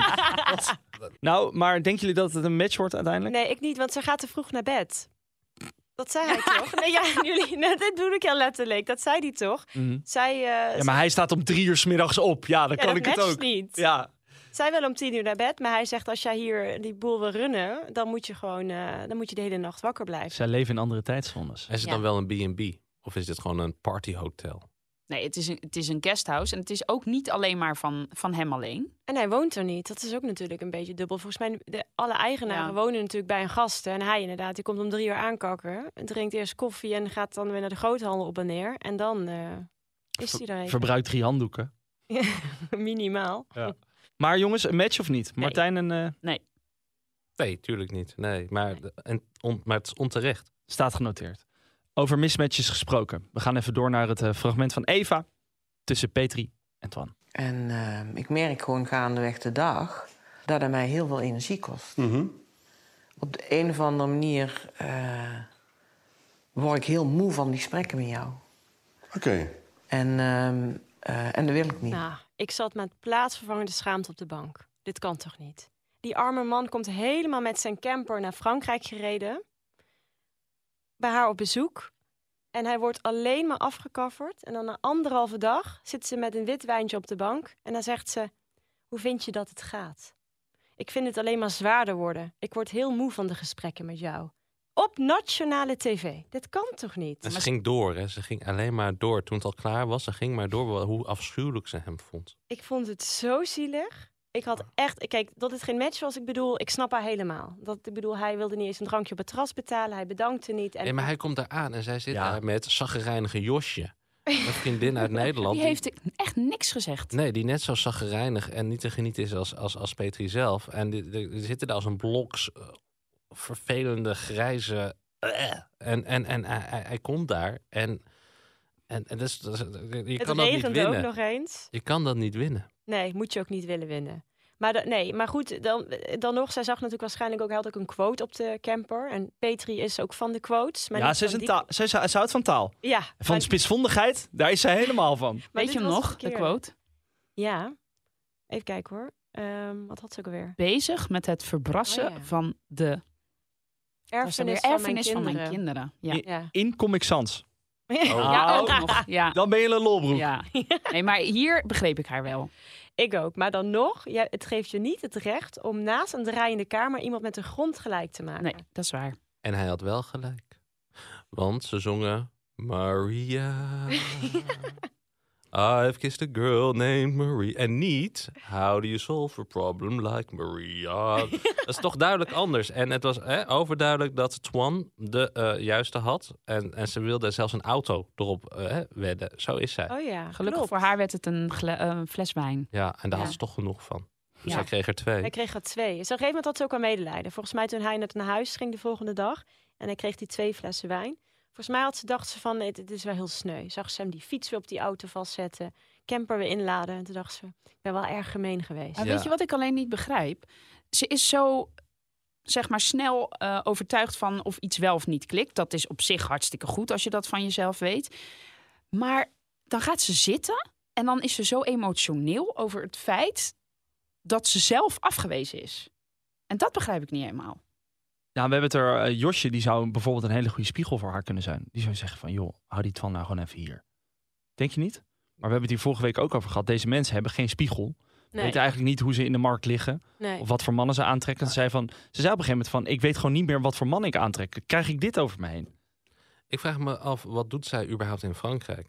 S8: nou, maar denken jullie dat het een match wordt uiteindelijk?
S10: Nee, ik niet, want ze gaat te vroeg naar bed. Dat zei hij toch? Nee, ja, jullie, nou, dit doe ik ja letterlijk. Dat zei hij toch?
S8: Mhm.
S10: Zij, eh,
S8: Ja, maar hij staat om drie uur 's middags op. Ja, dan
S10: ja,
S8: kan
S10: dat
S8: ik het
S10: matcht
S8: ook.
S10: niet.
S8: Ja,
S10: Zij wil om tien uur naar bed, maar hij zegt als jij hier die boel wil runnen, dan moet je gewoon, eh, dan moet je de hele nacht wakker blijven.
S8: zij leven in andere tijdzones.
S3: Is het
S9: Ja.
S3: dan wel een B&B? Of is dit gewoon een partyhotel?
S9: Nee, het is een, het is een guesthouse. En het is ook niet alleen maar van, van hem alleen.
S10: En hij woont er niet. Dat is ook natuurlijk een beetje dubbel. Volgens mij, de, alle eigenaren
S9: Ja.
S10: wonen natuurlijk bij een gasten. En hij inderdaad, die komt om drie uur aankakken. Drinkt eerst koffie en gaat dan weer naar de groothandel op en neer. En dan eh, is hij er even.
S8: Verbruikt drie handdoeken.
S10: Minimaal.
S8: Maar jongens, een match of niet? Martijn en, eh,
S3: Nee, tuurlijk niet. Nee, maar, en on- maar het is onterecht.
S8: staat genoteerd. Over mismatches gesproken. We gaan even door naar het eh, fragment van Eva tussen Petri en Twan.
S11: En eh, ik merk gewoon gaandeweg de dag dat het mij heel veel energie kost. Op de een of andere manier eh, word ik heel moe van die gesprekken met jou.
S12: Oké.
S11: En, ehm, eh, en dat wil ik niet.
S10: Nou, ik zat met plaatsvervangende schaamte op de bank. Dit kan toch niet? Die arme man komt helemaal met zijn camper naar Frankrijk gereden. Bij haar op bezoek. En hij wordt alleen maar afgekafferd. En dan na anderhalve dag zit ze met een wit wijntje op de bank. En dan zegt ze, hoe vind je dat het gaat? Ik vind het alleen maar zwaarder worden. Ik word heel moe van de gesprekken met jou. Op nationale tv. Dit kan toch niet?
S3: En ze ging door, hè. Ze ging alleen maar door. Toen het al klaar was, ze ging maar door hoe afschuwelijk ze hem vond.
S10: Ik vond het zo zielig. Ik had echt, kijk, dat het geen match was, ik bedoel, ik snap haar helemaal. Dat, ik bedoel, hij wilde niet eens een drankje op het terras betalen, hij bedankte niet. En
S3: Nee, maar hij komt daar aan en zij zit
S8: Ja.
S3: daar met zaggerijnige Josje. Een vriendin uit Nederland.
S9: Die heeft echt niks gezegd.
S3: Nee, die net zo zaggerijnig en niet te genieten is als, als, als Petri zelf. En die, die- die zitten daar als een blok s- eh, vervelende, grijze... eh. En, en, en hij, hij- hij komt daar en... en, en dat is, dat is- je
S10: het
S3: kan dat niet
S10: regende ook
S3: winnen.
S10: nog eens.
S3: Je kan dat niet winnen.
S10: Nee, moet je ook niet willen winnen. Maar, dat- nee, maar goed, dan, dan nog, zij zag natuurlijk waarschijnlijk ook, hij had ook een quote op de camper. En Petri is ook van de quotes. Maar
S8: ja,
S10: niet
S8: ze, is
S10: van
S8: een
S10: die-
S8: taal, ze, is- ze houdt van taal.
S10: Ja.
S8: Van
S10: maar-
S8: spitsvondigheid, daar is ze helemaal van.
S10: maar
S9: Weet je
S10: dit
S9: hem
S10: was
S9: nog,
S10: het
S9: de
S10: verkeerde.
S9: quote?
S10: Ja. Even kijken hoor. Ehm, wat had ze ook alweer?
S9: Bezig met het verbrassen
S10: Oh ja.
S9: van de was dan weer
S10: Erfenis,
S9: erfenis
S10: van
S9: van
S10: mijn
S9: mijn
S10: kinderen.
S9: kinderen. Ja,
S10: Ja.
S8: In Comic Sans.
S9: ja ook
S8: Nou,
S9: nog. Ja.
S8: Dan ben je een lolbroek.
S9: ja. Nee, maar hier begreep ik haar wel.
S10: Ik ook. Maar dan nog, jij- het geeft je niet het recht om naast een draaiende kamer iemand met de grond gelijk te maken.
S9: Nee, dat is waar.
S3: En hij had wel gelijk. Want ze zongen Maria. I've kissed a girl named Maria. En niet How do you solve a problem like Maria? dat is toch duidelijk anders. En het was hè, overduidelijk dat Twan de eh, juiste had. En, en ze wilde zelfs een auto erop eh, wedden. Zo is zij.
S10: Oh ja,
S9: Gelukkig
S10: klopt.
S9: voor haar werd het een gle- eh, een fles wijn.
S3: Ja, en daar
S9: Ja.
S3: had ze toch genoeg van. Dus
S9: Ja.
S3: hij kreeg er twee.
S10: Hij kreeg er twee. Dus op een gegeven moment had ze ook al medelijden. Volgens mij toen hij net naar huis ging de volgende dag en hij kreeg die twee flessen wijn. Volgens mij had ze, dacht ze van, dit, dit is wel heel sneu. Zag ze hem die fiets weer op die auto vastzetten, camper weer inladen. En toen dacht ze, ik ben wel erg gemeen geweest.
S9: Maar
S3: Ja.
S9: Weet je wat ik alleen niet begrijp? Ze is zo, zeg maar, snel eh, overtuigd van of iets wel of niet klikt. Dat is op zich hartstikke goed als je dat van jezelf weet. Maar dan gaat ze zitten en dan is ze zo emotioneel over het feit dat ze zelf afgewezen is. En dat begrijp ik niet helemaal.
S8: Ja, we hebben het er. eh, Josje, die zou bijvoorbeeld een hele goede spiegel voor haar kunnen zijn. Die zou zeggen van, joh, hou die Twan nou gewoon even hier. Denk je niet? Maar we hebben het hier vorige week ook over gehad. Deze mensen hebben geen spiegel.
S10: Nee.
S8: Weten eigenlijk niet hoe ze in de markt liggen.
S10: Nee.
S8: Of wat voor mannen ze aantrekken. Ze zei, van, ze zei op een gegeven moment van... ik weet gewoon niet meer wat voor man ik aantrek. Krijg ik dit over me heen?
S3: Ik vraag me af, wat doet zij überhaupt in Frankrijk?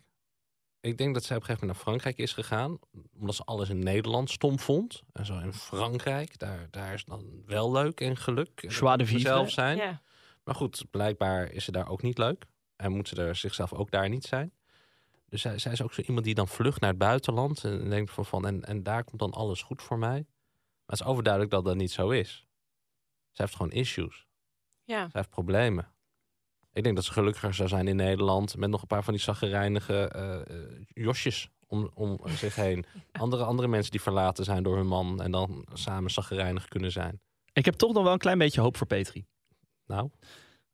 S3: Ik denk dat zij op een gegeven moment naar Frankrijk is gegaan. Omdat ze alles in Nederland stom vond. En zo in Frankrijk, daar, daar is dan wel leuk en geluk. En
S8: Joie de vivre.
S3: zelf zijn.
S10: Ja.
S3: Maar goed, blijkbaar is ze daar ook niet leuk. En moet ze er zichzelf ook daar niet zijn. Dus zij, zij is ook zo iemand die dan vlucht naar het buitenland. En denkt van, van en, en daar komt dan alles goed voor mij. Maar het is overduidelijk dat dat niet zo is. Zij heeft gewoon issues.
S10: Ja.
S3: Zij heeft problemen. Ik denk dat ze gelukkiger zou zijn in Nederland met nog een paar van die zaggerijnige eh, eh, josjes om, om zich heen. Andere, andere mensen die verlaten zijn door hun man en dan samen zaggerijnig kunnen zijn.
S8: Ik heb toch nog wel een klein beetje hoop voor Petri.
S3: Nou,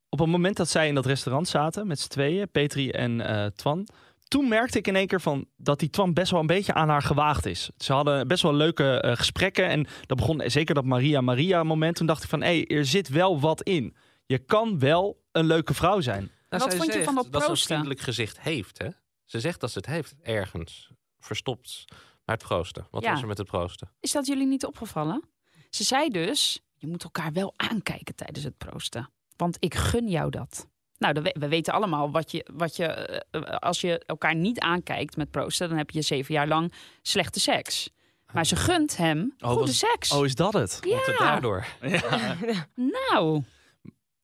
S8: Op het moment dat zij in dat restaurant zaten met z'n tweeën... Petri en eh, Twan... Toen merkte ik in één keer van dat die Twan best wel een beetje aan haar gewaagd is. Ze hadden best wel leuke eh, gesprekken. En dat begon zeker dat Maria Maria moment. Toen dacht ik van, hé, er zit wel wat in. Je kan wel een leuke vrouw zijn.
S9: Wat
S3: zij
S9: vond je
S3: zegt
S9: van dat
S3: Dat Nou, ze een
S9: proosten?
S3: vriendelijk gezicht heeft, hè? Ze zegt dat ze het heeft ergens, verstopt. Maar het proosten, wat
S9: Ja.
S3: was er met het proosten?
S9: Is dat jullie niet opgevallen? Ze zei dus, je moet elkaar wel aankijken tijdens het proosten. Want ik gun jou dat. Nou, dan we, we weten allemaal wat je, wat je, eh, eh, als je elkaar niet aankijkt met proosten, dan heb je zeven jaar lang slechte seks. Maar ze gunt hem goede
S8: was-
S9: seks.
S8: Oh, is dat het?
S9: Ja. Komt het daardoor?
S8: Ja.
S9: Nou,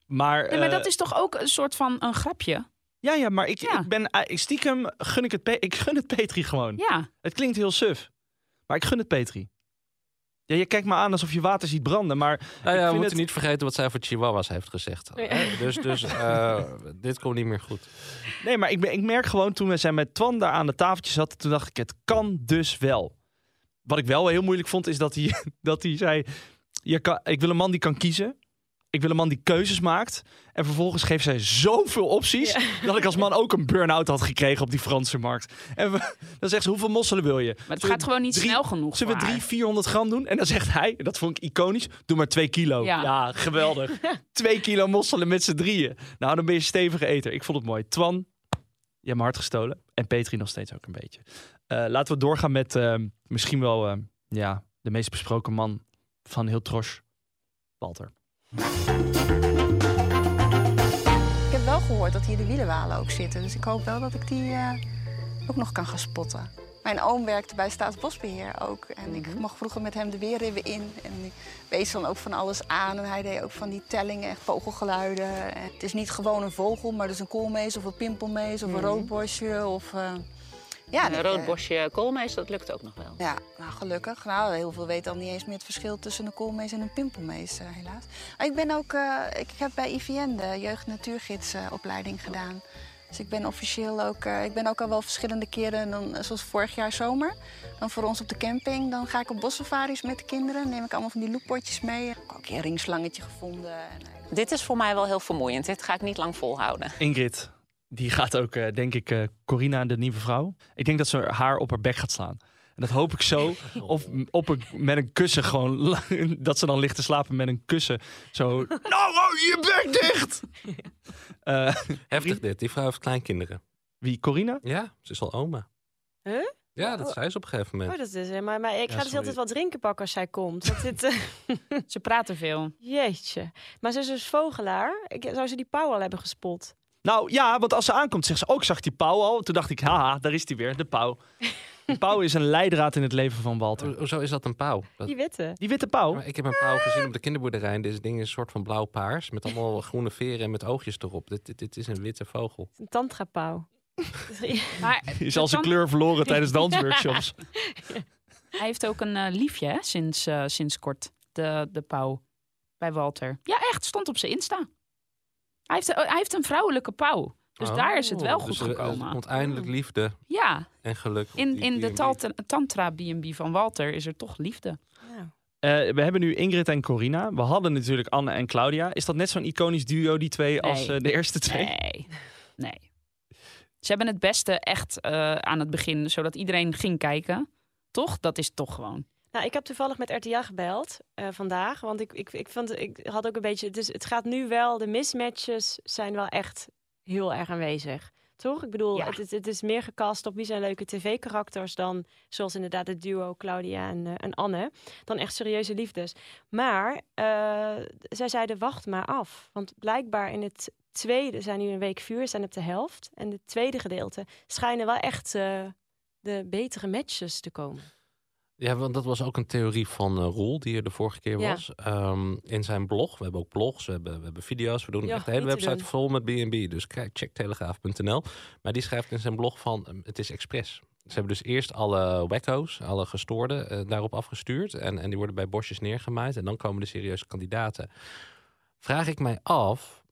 S8: Maar,
S9: nee, maar
S8: eh,
S9: dat is toch ook een soort van een grapje?
S8: Ja, ja, maar ik,
S9: Ja.
S8: ik ben eh, ik stiekem gun ik het Pe- ik gun het Petri gewoon.
S9: Ja.
S8: Het klinkt heel suf, maar ik gun het Petri. Ja, je kijkt me aan alsof je water ziet branden, maar
S3: Nou
S8: ik
S3: ja, we
S8: vind
S3: moeten
S8: het-
S3: niet vergeten wat zij voor Chihuahuas heeft gezegd. hè? Dus, dus eh, dit komt niet meer goed.
S8: Nee, maar ik, ben- ik merk gewoon toen we zijn met Twan daar aan het tafeltje zat, toen dacht ik het kan dus wel. Wat ik wel heel moeilijk vond is dat hij dat hij zei je kan, ik wil een man die kan kiezen. Ik wil een man die keuzes maakt. En vervolgens geeft zij zoveel opties. Dat ik als man ook een burn-out had gekregen op die Franse markt. En we- dan zegt ze: hoeveel mosselen wil je? Maar
S9: het gaat gewoon niet snel genoeg
S8: Zullen we
S9: voor
S8: drie,
S9: haar.
S8: 400 gram doen? En dan zegt hij: en dat vond ik iconisch. Doe maar twee kilo. Ja,
S9: Ja.
S8: geweldig. twee kilo mosselen met z'n drieën. Nou, dan ben je stevige eter. Ik vond het mooi. Twan, je hebt mijn hart gestolen. En Petri nog steeds ook een beetje. Eh, laten we doorgaan met ehm, misschien wel ehm, ja, de meest besproken man van heel Trosh. Walter.
S12: Ik heb wel gehoord dat hier de wielenwalen ook zitten. Dus ik hoop wel dat ik die eh, ook nog kan gaan spotten. Mijn oom werkte bij Staatsbosbeheer ook. En ik mocht vroeger met hem de weerribben in. En ik wees dan ook van alles aan. En hij deed ook van die tellingen en vogelgeluiden. En het is niet gewoon een vogel, maar dus een koolmees of een pimpelmees of
S13: Mhm.
S12: een roodborstje. Of, eh, ja,
S13: een
S12: dat,
S13: rood
S12: eh,
S13: bosje koolmees, dat lukt ook nog wel.
S12: ja, nou gelukkig. Nou, heel veel weten al niet eens meer het verschil tussen een koolmees en een pimpelmees, eh, helaas. Maar ik ben ook, eh, ik heb bij IVN de jeugd natuurgidsopleiding gedaan. Dus ik ben officieel ook, eh, ik ben ook al wel verschillende keren, dan, eh, zoals vorig jaar zomer, dan voor ons op de camping. Dan ga ik op bossafaris met de kinderen, neem ik allemaal van die loeppotjes mee. Ik heb ook een ringslangetje gevonden. En, eh,
S13: Dit is voor mij wel heel vermoeiend. Dit ga ik niet lang volhouden.
S8: Ingrid, die gaat ook, eh, denk ik, eh, Corina, de nieuwe vrouw. Ik denk dat ze haar op haar bek gaat slaan. En dat hoop ik zo. Of m- op een, met een kussen gewoon. la- Dat ze dan ligt te slapen met een kussen. Zo. Nou, hou je bek dicht! Eh,
S3: Heftig dit, die vrouw heeft kleinkinderen.
S8: Wie, Corina?
S3: Ja, ze is al oma.
S10: Huh?
S3: Ja, dat zei ze op een gegeven moment.
S10: Oh, dat is helemaal. Maar ik
S3: Ja,
S10: ga dus
S3: sorry.
S10: altijd wat drinken pakken als zij komt. Want dit, eh,
S9: Ze praten veel.
S10: Jeetje. Maar ze is dus vogelaar. Ik, zou ze die pauw al hebben gespot?
S8: Nou ja, want als ze aankomt, zegt ze ook, zag die pauw al. Toen dacht ik, haha, daar is die weer, de pauw. De pauw is een leidraad in het leven van Walter.
S3: Hoezo is dat een pauw? Dat-
S10: Die witte.
S8: Die witte pauw?
S3: Maar ik heb een pauw gezien op de kinderboerderij. En dit ding is een soort van blauw-paars. Met allemaal groene veren en met oogjes erop. Dit, dit, dit is een witte vogel.
S10: Een tantrapauw.
S9: Maar
S8: Is al zijn kleur verloren tijdens dansworkshops.
S9: Hij heeft ook een eh, liefje hè, sinds, eh, sinds kort, de, de pauw bij Walter. Ja, echt, stond op zijn Insta. Hij heeft, oh, hij heeft een vrouwelijke pauw. Dus
S3: Oh,
S9: daar is het wel goed
S3: dus er- er
S9: gekomen.
S3: komt eindelijk liefde
S9: Ja,
S3: en geluk. op
S9: in,
S3: die
S9: in de
S3: B&B.
S9: talt- Tantra B&B van Walter is er toch liefde.
S8: Eh, we hebben nu Ingrid en Corina. We hadden natuurlijk Anne en Claudia. Is dat net zo'n iconisch duo, die twee, als
S9: Nee.
S8: eh, de eerste twee?
S9: Nee, nee. Ze hebben het beste echt eh, aan het begin, zodat iedereen ging kijken. Toch? Dat is toch gewoon.
S10: Nou, ik heb toevallig met RTA gebeld eh, vandaag. Want ik, ik, ik, vond, ik had ook een beetje. Dus het gaat nu wel. De mismatches zijn wel echt heel erg aanwezig. Toch? Ik bedoel, het, is- het is meer gecast op wie zijn leuke tv-karakters dan, zoals inderdaad het duo Claudia en, eh, en Anne, dan echt serieuze liefdes. Maar eh, zij zeiden, wacht maar af. Want blijkbaar in het tweede, zijn nu een week vuur, zijn op de helft. En het tweede gedeelte schijnen wel echt eh, de betere matches te komen.
S3: Ja, want dat was ook een theorie van eh, Roel, die er de vorige keer
S10: Ja.
S3: was. Ehm, in zijn blog. We hebben ook blogs, we hebben, we hebben video's. We doen
S10: Ja,
S3: echt de hele
S10: niet te
S3: website
S10: doen.
S3: vol met B&B. Dus kijk, check telegraaf.nl. Maar die schrijft in zijn blog van, ehm, het is expres. Ze hebben dus eerst alle wekko's, alle gestoorden, eh, daarop afgestuurd. En, en die worden bij bosjes neergemaaid. En dan komen de serieuze kandidaten. Vraag ik mij af,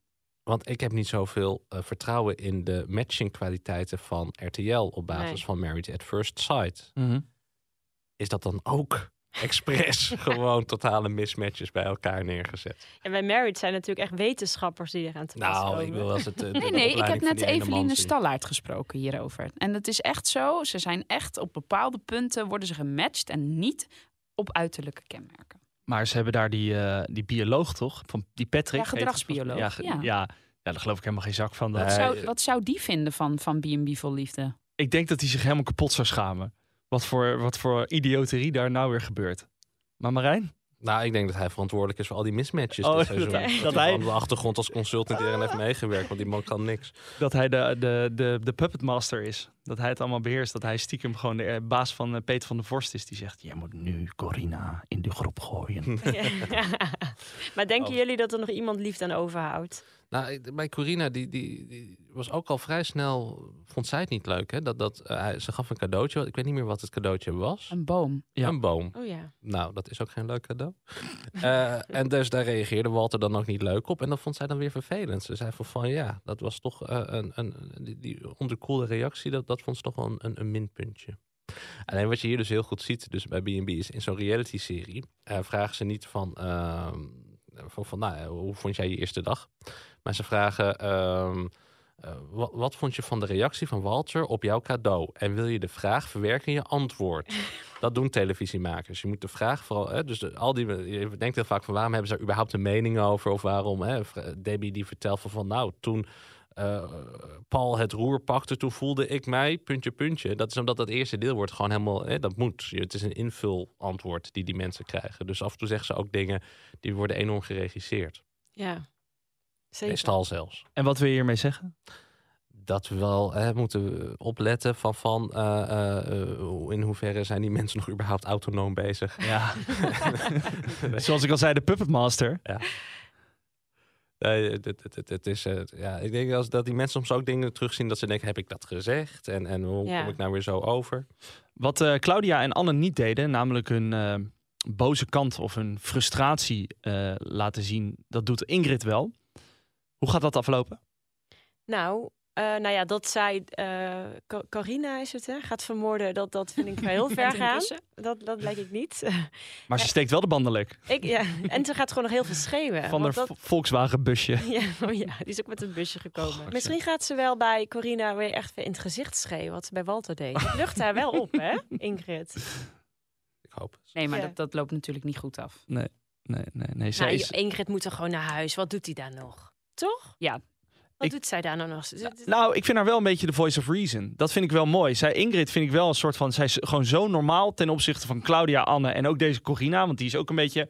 S3: want ik heb niet zoveel eh, vertrouwen in de matchingkwaliteiten van RTL op basis
S10: Nee.
S3: van Married at First Sight
S8: Mhm.
S3: is dat dan ook expres gewoon totale mismatches bij elkaar neergezet?
S10: En bij Married zijn natuurlijk echt wetenschappers die eraan te pas
S3: Nou,
S10: komen.
S3: ik wil als het. eh, de-
S9: Nee,
S3: de
S9: nee, ik heb
S3: opleiding
S9: net
S3: van die ene man
S9: Eveline
S3: zien.
S9: Stallaert gesproken hierover. En het is echt zo, ze zijn echt op bepaalde punten worden ze gematcht en niet op uiterlijke kenmerken.
S8: Maar ze hebben daar die, eh, die bioloog toch? Van die Patrick.
S9: Ja, gedragsbioloog,
S8: Ja, ge-
S9: ja.
S8: ja. ja, daar geloof ik helemaal geen zak van.
S9: Wat,
S8: Nee,
S9: zou,
S8: eh,
S9: wat zou die vinden van, van B&B Vol Liefde?
S8: Ik denk dat hij zich helemaal kapot zou schamen. Wat voor, wat voor idioterie daar nou weer gebeurt. Maar Marijn?
S3: Nou, ik denk dat hij verantwoordelijk is voor al die mismatches.
S8: Oh,
S3: dit seizoen.
S8: dat hij-
S3: Dat,
S8: dat
S3: hij
S8: hij-
S3: op de achtergrond als consultant hierin heeft meegewerkt, want die man kan niks.
S8: Dat hij de, de, de, de puppetmaster is. Dat hij het allemaal beheerst. Dat hij stiekem gewoon de eh, baas van eh, Peter van der Vorst is. Die zegt, jij moet nu Corina in de groep gooien.
S10: maar denken
S3: Oh.
S10: jullie dat er nog iemand liefde aan overhoudt?
S3: Nou, ik- bij Corina, die, die, die was ook al vrij snel, vond zij het niet leuk. Hè? Dat, dat, eh, hij- ze gaf een cadeautje, ik weet niet meer wat het cadeautje was.
S9: Een boom.
S3: Een boom.
S10: Oh ja.
S3: Nou, dat is ook geen leuk cadeau. Eh, en dus daar reageerde Walter dan ook niet leuk op. En dat vond zij dan weer vervelend. Ze zei van, van ja, dat was toch eh, een, een, die, die onderkoelde reactie. Dat, dat vond ze toch wel een, een, een minpuntje. Alleen wat je hier dus heel goed ziet dus bij B&B is in zo'n reality-serie... eh, vragen ze niet van, ehm, van, van nou, eh, hoe vond jij je eerste dag? Maar ze vragen... ehm, eh, wat, wat vond je van de reactie van Walter op jouw cadeau? En wil je de vraag verwerken in je antwoord? Dat doen televisiemakers. Je moet de vraag vooral. Hè, dus de- al die, je denkt heel vaak van waarom hebben ze daar überhaupt een mening over? Of waarom hè, v- Debbie die vertelt van, van nou toen. eh, Paul het roer pakte, toen voelde ik mij, puntje, puntje. Dat is omdat dat eerste deel wordt gewoon helemaal, hè, dat moet. Je- Het is een invulantwoord die die mensen krijgen. Dus af en toe zeggen ze ook dingen die worden enorm geregisseerd.
S10: Ja. Zeker.
S3: Meestal zelfs
S8: En wat wil je hiermee zeggen?
S3: dat we wel hè, moeten opletten van, van eh, eh, eh, hoe- in hoeverre zijn die mensen nog überhaupt autonoom bezig.
S8: Ja. Zoals ik al zei, de puppetmaster.
S3: Ja. Nee, het, het, het, het- het is, eh, ja, ik denk als, dat die mensen soms ook dingen terugzien dat ze denken, heb ik dat gezegd? En, en hoe
S8: Ja.
S3: kom ik nou weer zo over?
S8: Wat eh, Claudia en Anne niet deden, namelijk hun eh, boze kant of hun frustratie eh, laten zien, dat doet Ingrid wel. Hoe gaat dat aflopen?
S10: Nou, eh, nou ja, dat zij eh, Co- Corina is het, hè, gaat vermoorden. Dat, dat vind ik wel heel ver
S9: Met een
S10: gaan.
S9: kussen?
S10: Dat, dat lijkt ik niet.
S8: Maar ze steekt wel de banden lek
S10: ik, ja. En ze gaat gewoon nog heel veel schreeuwen.
S8: van haar
S10: want dat-
S8: Vo- Volkswagen-busje.
S10: Ja, oh ja, die is ook met het busje gekomen.
S3: Oh,
S8: Goh,
S10: Misschien gaat ze wel bij Corina weer echt weer in het gezicht schreeuwen, wat ze bij Walter deed. Het lucht haar wel op, hè, Ingrid?
S3: Ik hoop het.
S9: Nee, maar
S10: Ja.
S9: dat, dat loopt natuurlijk niet goed af.
S8: Nee, nee, nee. nee. Zij
S10: Nou,
S8: is...
S10: Ingrid moet er gewoon naar huis. Wat doet hij daar nog? Toch?
S9: Ja.
S10: Wat
S8: Ik-
S10: doet zij daar nou nog? Ze- ze-
S8: Nou, ik vind haar wel een beetje de voice of reason. Dat vind ik wel mooi. Zij, Ingrid vind ik wel een soort van... Zij is gewoon zo normaal ten opzichte van Claudia, Anne en ook deze Corina. Want die is ook een beetje...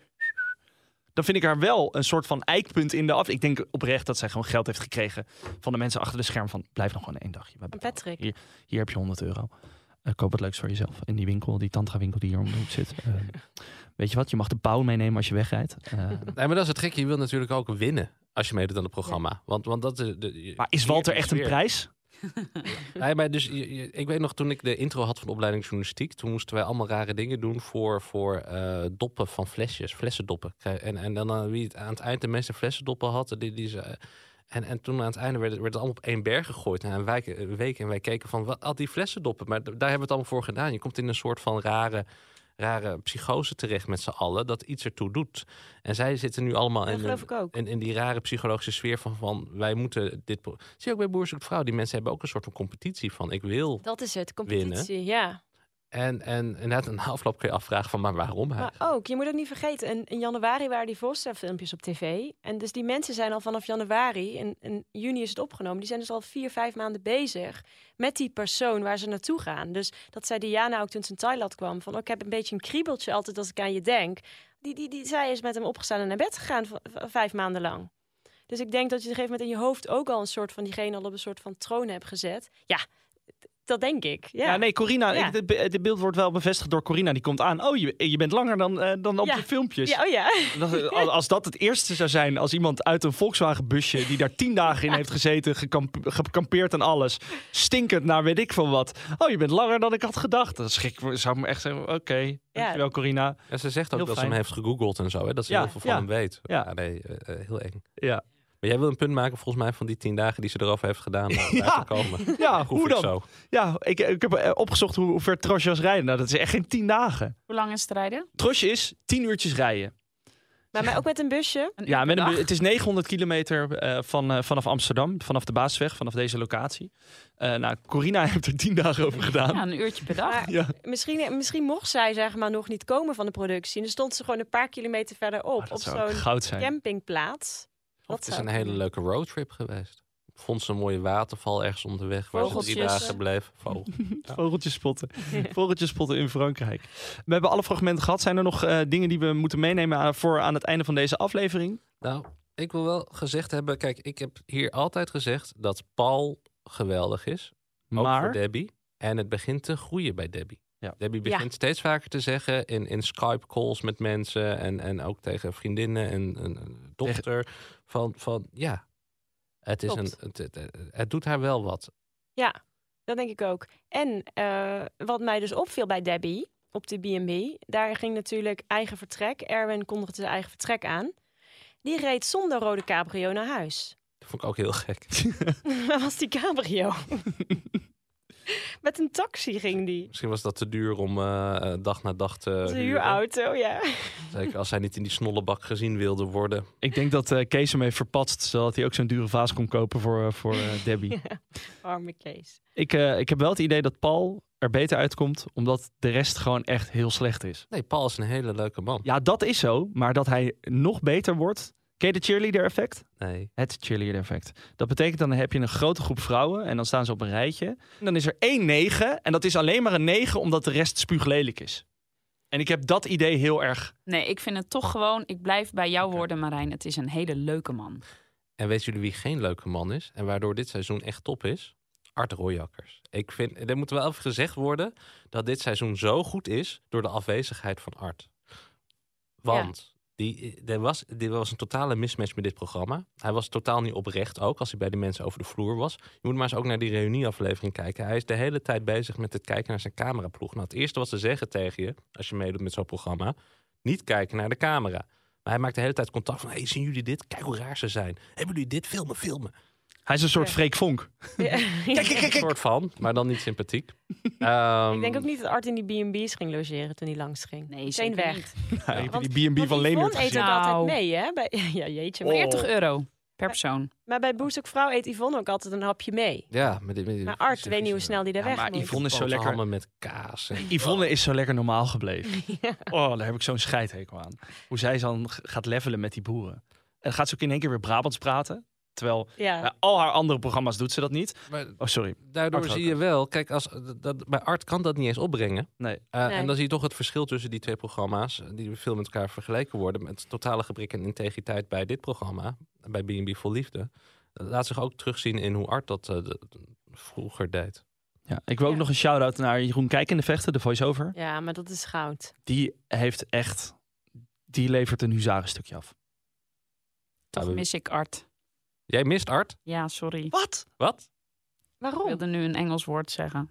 S8: Dan vind ik haar wel een soort van eikpunt in de af. Ik denk oprecht dat zij gewoon geld heeft gekregen van de mensen achter de scherm. Van blijf nog gewoon één dagje. We
S10: En Patrick.
S8: Hier, hier heb je 100 euro. Eh, koop wat leuks voor jezelf. In die winkel, die tantra-winkel die hier om de hoek zit. Eh, weet je wat? Je mag de pauw meenemen als je wegrijdt. Eh,
S3: Nee, maar dat is het gekke. Je wil natuurlijk ook winnen als je meedoet aan het programma. Want, want dat is... De,
S8: maar is Walter echt een
S3: weer-
S8: prijs?
S3: Nee, maar dus, je- je- ik weet nog, toen ik de intro had van de opleiding journalistiek... toen moesten wij allemaal rare dingen doen voor, voor eh, doppen van flesjes, flessendoppen. Kijk, En, en dan eh, wie het aan het eind de meeste flessendoppen had, die, die ze... En, en toen aan het einde werd, het- werd het allemaal op één berg gegooid na een wijk- een week. En wij keken van, wat had die flessendoppen? Maar d- daar hebben we het allemaal voor gedaan. Je komt in een soort van rare, rare psychose terecht met z'n allen. Dat iets ertoe doet. En zij zitten nu allemaal
S10: Dat
S3: in,
S10: geloof
S8: eh,
S3: een-
S10: ik ook.
S3: in, in die rare psychologische sfeer van, van wij moeten dit... pro- Zie je ook bij Boer zoekt vrouw. Die mensen hebben ook een soort van competitie van ik wil
S10: Dat is het, competitie, ja.
S3: En, en inderdaad, een afloop kun je afvragen van, maar waarom hij?
S10: Maar ook, je moet ook niet vergeten, in, in januari waren die Vossen-filmpjes op tv. En dus die mensen zijn al vanaf januari, en in juni is het opgenomen, die zijn dus al vier, vijf maanden bezig met die persoon waar ze naartoe gaan. Dus dat zei Diana ook toen ze in Thailand kwam, van oh, ik heb een beetje een kriebeltje altijd als ik aan je denk. Die, die, die, zij is met hem opgestaan en naar bed gegaan v- v- vijf maanden lang. Dus ik denk dat je op een gegeven moment in je hoofd ook al een soort van diegene al op een soort van troon hebt gezet. Ja, d- dat denk ik. Ja,
S8: Ja, nee, Corina,
S10: Ja.
S8: ik- dit be- dit beeld wordt wel bevestigd door Corina. Die komt aan. Oh, je, je bent langer dan, eh, dan op
S10: Ja.
S8: de filmpjes.
S10: Ja, oh ja.
S8: Dat- als- als dat het eerste zou zijn, als iemand uit een Volkswagenbusje... die daar tien dagen in heeft gezeten, gekamp- gekampeerd en alles... stinkend naar weet ik veel wat. Oh, je bent langer dan ik had gedacht. Dan schrik, ik me- zou ik me echt zeggen, oké, dankjewel Corina.
S3: En ze zegt ook
S8: Heel
S3: dat
S8: fijn.
S3: ze hem heeft gegoogeld en zo. Hè? Dat ze
S8: Ja,
S3: heel veel van
S8: ja,
S3: hem weet.
S8: ja.
S3: Ja, nee, eh, eh, heel eng.
S8: Ja.
S3: Maar jij wil een punt maken volgens mij van die tien dagen die ze erover heeft gedaan. om daar
S8: Ja,
S3: te komen.
S8: ja
S3: Proef
S8: hoe
S3: ik
S8: dan?
S3: zo.
S8: Ja, ik, ik heb eh, opgezocht hoe, hoe ver Trosjas rijden. Nou, dat is echt geen tien dagen.
S9: Hoe lang is het rijden?
S8: Trosje is tien uurtjes rijden.
S10: Maar, maar ook met een busje.
S8: Ja, met een,
S10: dag?
S8: bu- het is 900 kilometer eh, van, eh, vanaf Amsterdam, vanaf de Baasweg, vanaf deze locatie. Eh, nou, Corina heeft er tien dagen over gedaan.
S9: Ja, een uurtje per dag.
S10: Maar
S8: Ja.
S10: misschien, eh, misschien mocht zij zeg maar, nog niet komen van de productie. En dan stond ze gewoon een paar kilometer verderop op
S3: Ah, zou echt
S10: zo'n
S3: goud zijn.
S10: campingplaats. Wat
S3: Het is
S10: zou-
S3: een hele leuke roadtrip geweest. Vond ze een mooie waterval ergens om de weg waar ze drie
S8: Vogeltjes.
S3: dagen bleef. Vogel.
S8: Vogeltjes spotten. Vogeltjes spotten in Frankrijk. We hebben alle fragmenten gehad. Zijn er nog eh, dingen die we moeten meenemen aan, voor aan het einde van deze aflevering?
S3: Nou, ik wil wel gezegd hebben, kijk, ik heb hier altijd gezegd dat Paul geweldig is. Ook
S8: Maar?
S3: voor Debbie. En het begint te groeien bij Debbie. Debbie
S8: Ja.
S3: begint steeds vaker te zeggen in, in Skype calls met mensen en, en ook tegen vriendinnen en, en en dochter van, van ja, het, is een,
S10: Klopt.
S3: het, het, het doet haar wel wat.
S10: Ja, dat denk ik ook. En eh, wat mij dus opviel bij Debbie op de B&B, daar ging natuurlijk eigen vertrek. Erwin kondigde zijn eigen vertrek aan. Die reed zonder rode cabrio naar huis.
S3: Dat vond ik ook heel gek.
S10: Waar was die cabrio? Met een taxi ging die.
S3: Misschien was dat te duur om eh, eh, dag na dag te
S10: De
S3: huren.
S10: huurauto, ja.
S3: Zeker als zij niet in die snollebak gezien wilde worden.
S8: Ik denk dat eh, Kees hem heeft verpatst, zodat hij ook zo'n dure vaas kon kopen voor, eh, voor eh, Debbie.
S10: Arme Kees.
S8: ik, eh, ik heb wel het idee dat Paul er beter uitkomt, omdat de rest gewoon echt heel slecht is.
S3: Nee, Paul is een hele leuke man.
S8: Ja, dat is zo, maar dat hij nog beter wordt. Ken je de cheerleader effect?
S3: Nee.
S8: Het cheerleader effect. Dat betekent dan heb je een grote groep vrouwen en dan staan ze op een rijtje. En dan is er één negen en dat is alleen maar een negen omdat de rest spuuglelijk is. En ik heb dat idee heel erg.
S9: Nee, ik vind het toch gewoon... Ik blijf bij jouw woorden, Marijn. Het is een hele leuke man.
S3: En weten jullie wie geen leuke man is en waardoor dit seizoen echt top is? Art Royakkers. Ik vind, er moet wel even gezegd worden dat dit seizoen zo goed is door de afwezigheid van Art. Want die, er, was, er was een totale mismatch met dit programma. Hij was totaal niet oprecht ook als hij bij die mensen over de vloer was. Je moet maar eens ook naar die reunieaflevering kijken. Hij is de hele tijd bezig met het kijken naar zijn cameraploeg. Nou, het eerste wat ze zeggen tegen je als je meedoet met zo'n programma, niet kijken naar de camera. Maar hij maakt de hele tijd contact van, hey, zien jullie dit? Kijk hoe raar ze zijn. Hebben jullie dit? Filmen, filmen.
S8: Hij is een soort Freek Vonk.
S3: Kijk, kijk, kijk. Een soort van, maar dan niet sympathiek. Ehm,
S10: Ik denk ook niet dat Art in die B&B's ging logeren toen hij langs ging. Nee, Meteen weg.
S8: Ja,
S10: Want-
S8: die B&B van Leendert
S10: Yvonne eet
S8: gezien.
S10: ook altijd mee, hè? Bij, ja, jeetje.
S8: Oh.
S10: maar-
S3: Oh.
S9: 40 euro per persoon.
S10: Maar bij Boezek Vrouw eet Yvonne ook altijd een hapje mee.
S3: Ja, met, dit- met, dit-
S10: Maar Art, weet niet hoe snel die daar weg moet.
S3: Boterhammen met kaas. en-
S8: Yvonne is zo lekker normaal gebleven. Oh, daar heb ik zo'n scheidhekel aan. Hoe zij dan g- gaat levelen met die boeren. En gaat ze ook in één keer weer Brabants praten. Terwijl
S10: Ja.
S8: bij al haar andere programma's doet ze dat niet.
S3: Maar
S8: oh, sorry.
S3: Daardoor
S8: Art
S3: zie je wel, kijk, als, dat- dat, bij Art kan dat niet eens opbrengen. Eh,
S8: Nee.
S10: Nee.
S3: En dan zie je toch het verschil tussen die twee programma's, eh, die veel met elkaar vergeleken worden, met totale gebrek aan integriteit bij dit programma, bij B&B Vol Liefde. Dat Laat zich ook terugzien in hoe Art dat eh, de- vroeger deed.
S8: Ja, ik wil ook nog een shout-out naar Jeroen Kijk in de Vechten, de voice-over.
S10: Ja, maar dat is goud.
S8: Die heeft echt... Die levert een huzarenstukje af.
S9: Toch mis ik Art.
S3: Jij mist Art?
S9: Ja, sorry.
S8: Wat?
S3: Wat?
S10: Waarom?
S9: Ik wilde nu een Engels woord zeggen.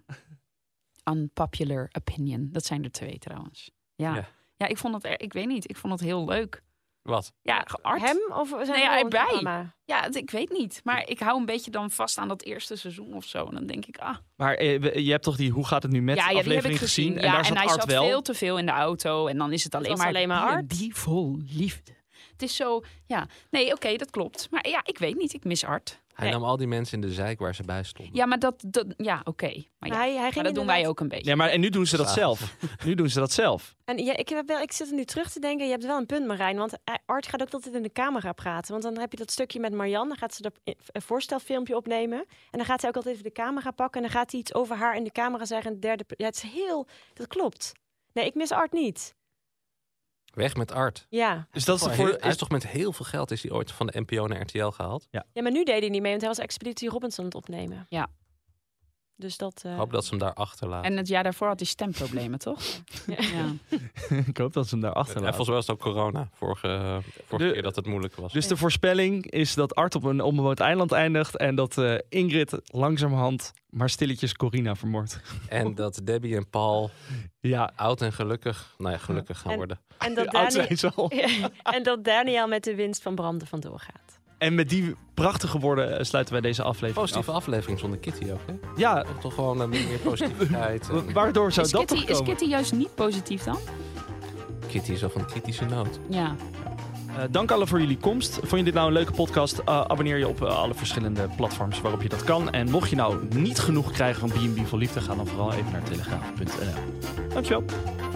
S9: Unpopular opinion. Dat zijn er twee trouwens. Ja.
S3: Ja.
S9: Ja, ik vond het, er- ik weet niet, ik vond het heel leuk.
S3: Wat?
S9: Ja, Art.
S10: Hem of zijn
S9: nee,
S10: er
S9: ja,
S10: wel een
S9: erbij.
S10: programma?
S9: Ja, het- ik weet niet. Maar ik hou een beetje dan vast aan dat eerste seizoen of zo. En dan denk ik, ah.
S8: Maar eh, we- je hebt toch die Hoe gaat het nu met
S9: ja, ja, die heb ik
S8: aflevering
S9: gezien.
S8: En
S9: ja,
S8: daar zat
S9: en hij
S8: Art
S9: zat
S8: wel.
S9: veel te veel in de auto. En dan is het alleen
S10: was
S9: maar,
S10: alleen maar Art.
S9: die vol liefde. Het is zo, ja. Nee, oké, dat klopt. Maar ja, ik weet niet. Ik mis Art.
S3: Hij nam al die mensen in de zeik waar ze bij stonden.
S9: Ja, maar dat... dat ja, oké. Maar, ja.
S10: Hij- hij ging
S9: Maar dat doen
S10: inderdaad-
S9: wij ook een beetje.
S8: Ja, maar en nu doen ze dat
S3: Ja.
S8: zelf. Nu doen ze dat zelf.
S10: En ja, ik, heb wel, ik zit er nu terug te denken, je hebt wel een punt Marijn. Want eh, Art gaat ook altijd in de camera praten. Want dan heb je dat stukje met Marianne, dan gaat ze dat i- een voorstelfilmpje opnemen. En dan gaat hij ook altijd even de camera pakken. En dan gaat hij iets over haar in de camera zeggen. En derde, per- ja, het is heel, dat klopt. Nee, ik mis Art niet.
S3: Weg met Art.
S10: Ja.
S8: Dus dat is
S3: Hij
S8: voor-
S3: heel- hij is toch met heel veel geld is hij ooit van de NPO naar RTL gehaald.
S8: Ja.
S10: ja, maar nu deed hij niet mee, want hij was Expeditie Robinson aan het opnemen.
S9: Ja.
S10: Dus dat... eh,
S3: Hoop dat ze hem daar achterlaten.
S9: En het jaar daarvoor had hij stemproblemen, toch? Ja.
S8: ik hoop dat ze hem daar achter
S3: En volgens mij was het ook corona vorige, vorige keer dat het moeilijk was.
S8: Dus de voorspelling is dat Art op een onbewoond eiland eindigt en dat eh, Ingrid langzamerhand maar stilletjes Corina vermoordt.
S3: En dat Debbie en Paul
S8: ja.
S3: oud en gelukkig, nou ja, gelukkig gaan
S10: En-
S3: worden.
S10: en, dat
S8: Oud zijn
S10: Dani-
S8: ze al.
S10: en dat Daniel met de winst van Branden vandoor gaat.
S8: En met die prachtige woorden eh, sluiten wij deze aflevering
S3: Positieve
S8: af.
S3: aflevering zonder Kitty ook, hè?
S8: Ja,
S3: Toch gewoon eh, meer positiviteit. en-
S8: waardoor zou
S9: Is
S8: dat
S9: Kitty,
S8: toch
S9: is
S8: komen?
S9: Kitty juist niet positief dan?
S3: Kitty is al van kritische nood.
S9: Ja.
S8: Eh, dank allen voor jullie komst. Vond je dit nou een leuke podcast? Eh, abonneer je op eh, alle verschillende platforms waarop je dat kan. En mocht je nou niet genoeg krijgen van B&B voor Liefde, ga dan vooral even naar telegraaf.nl. Dankjewel.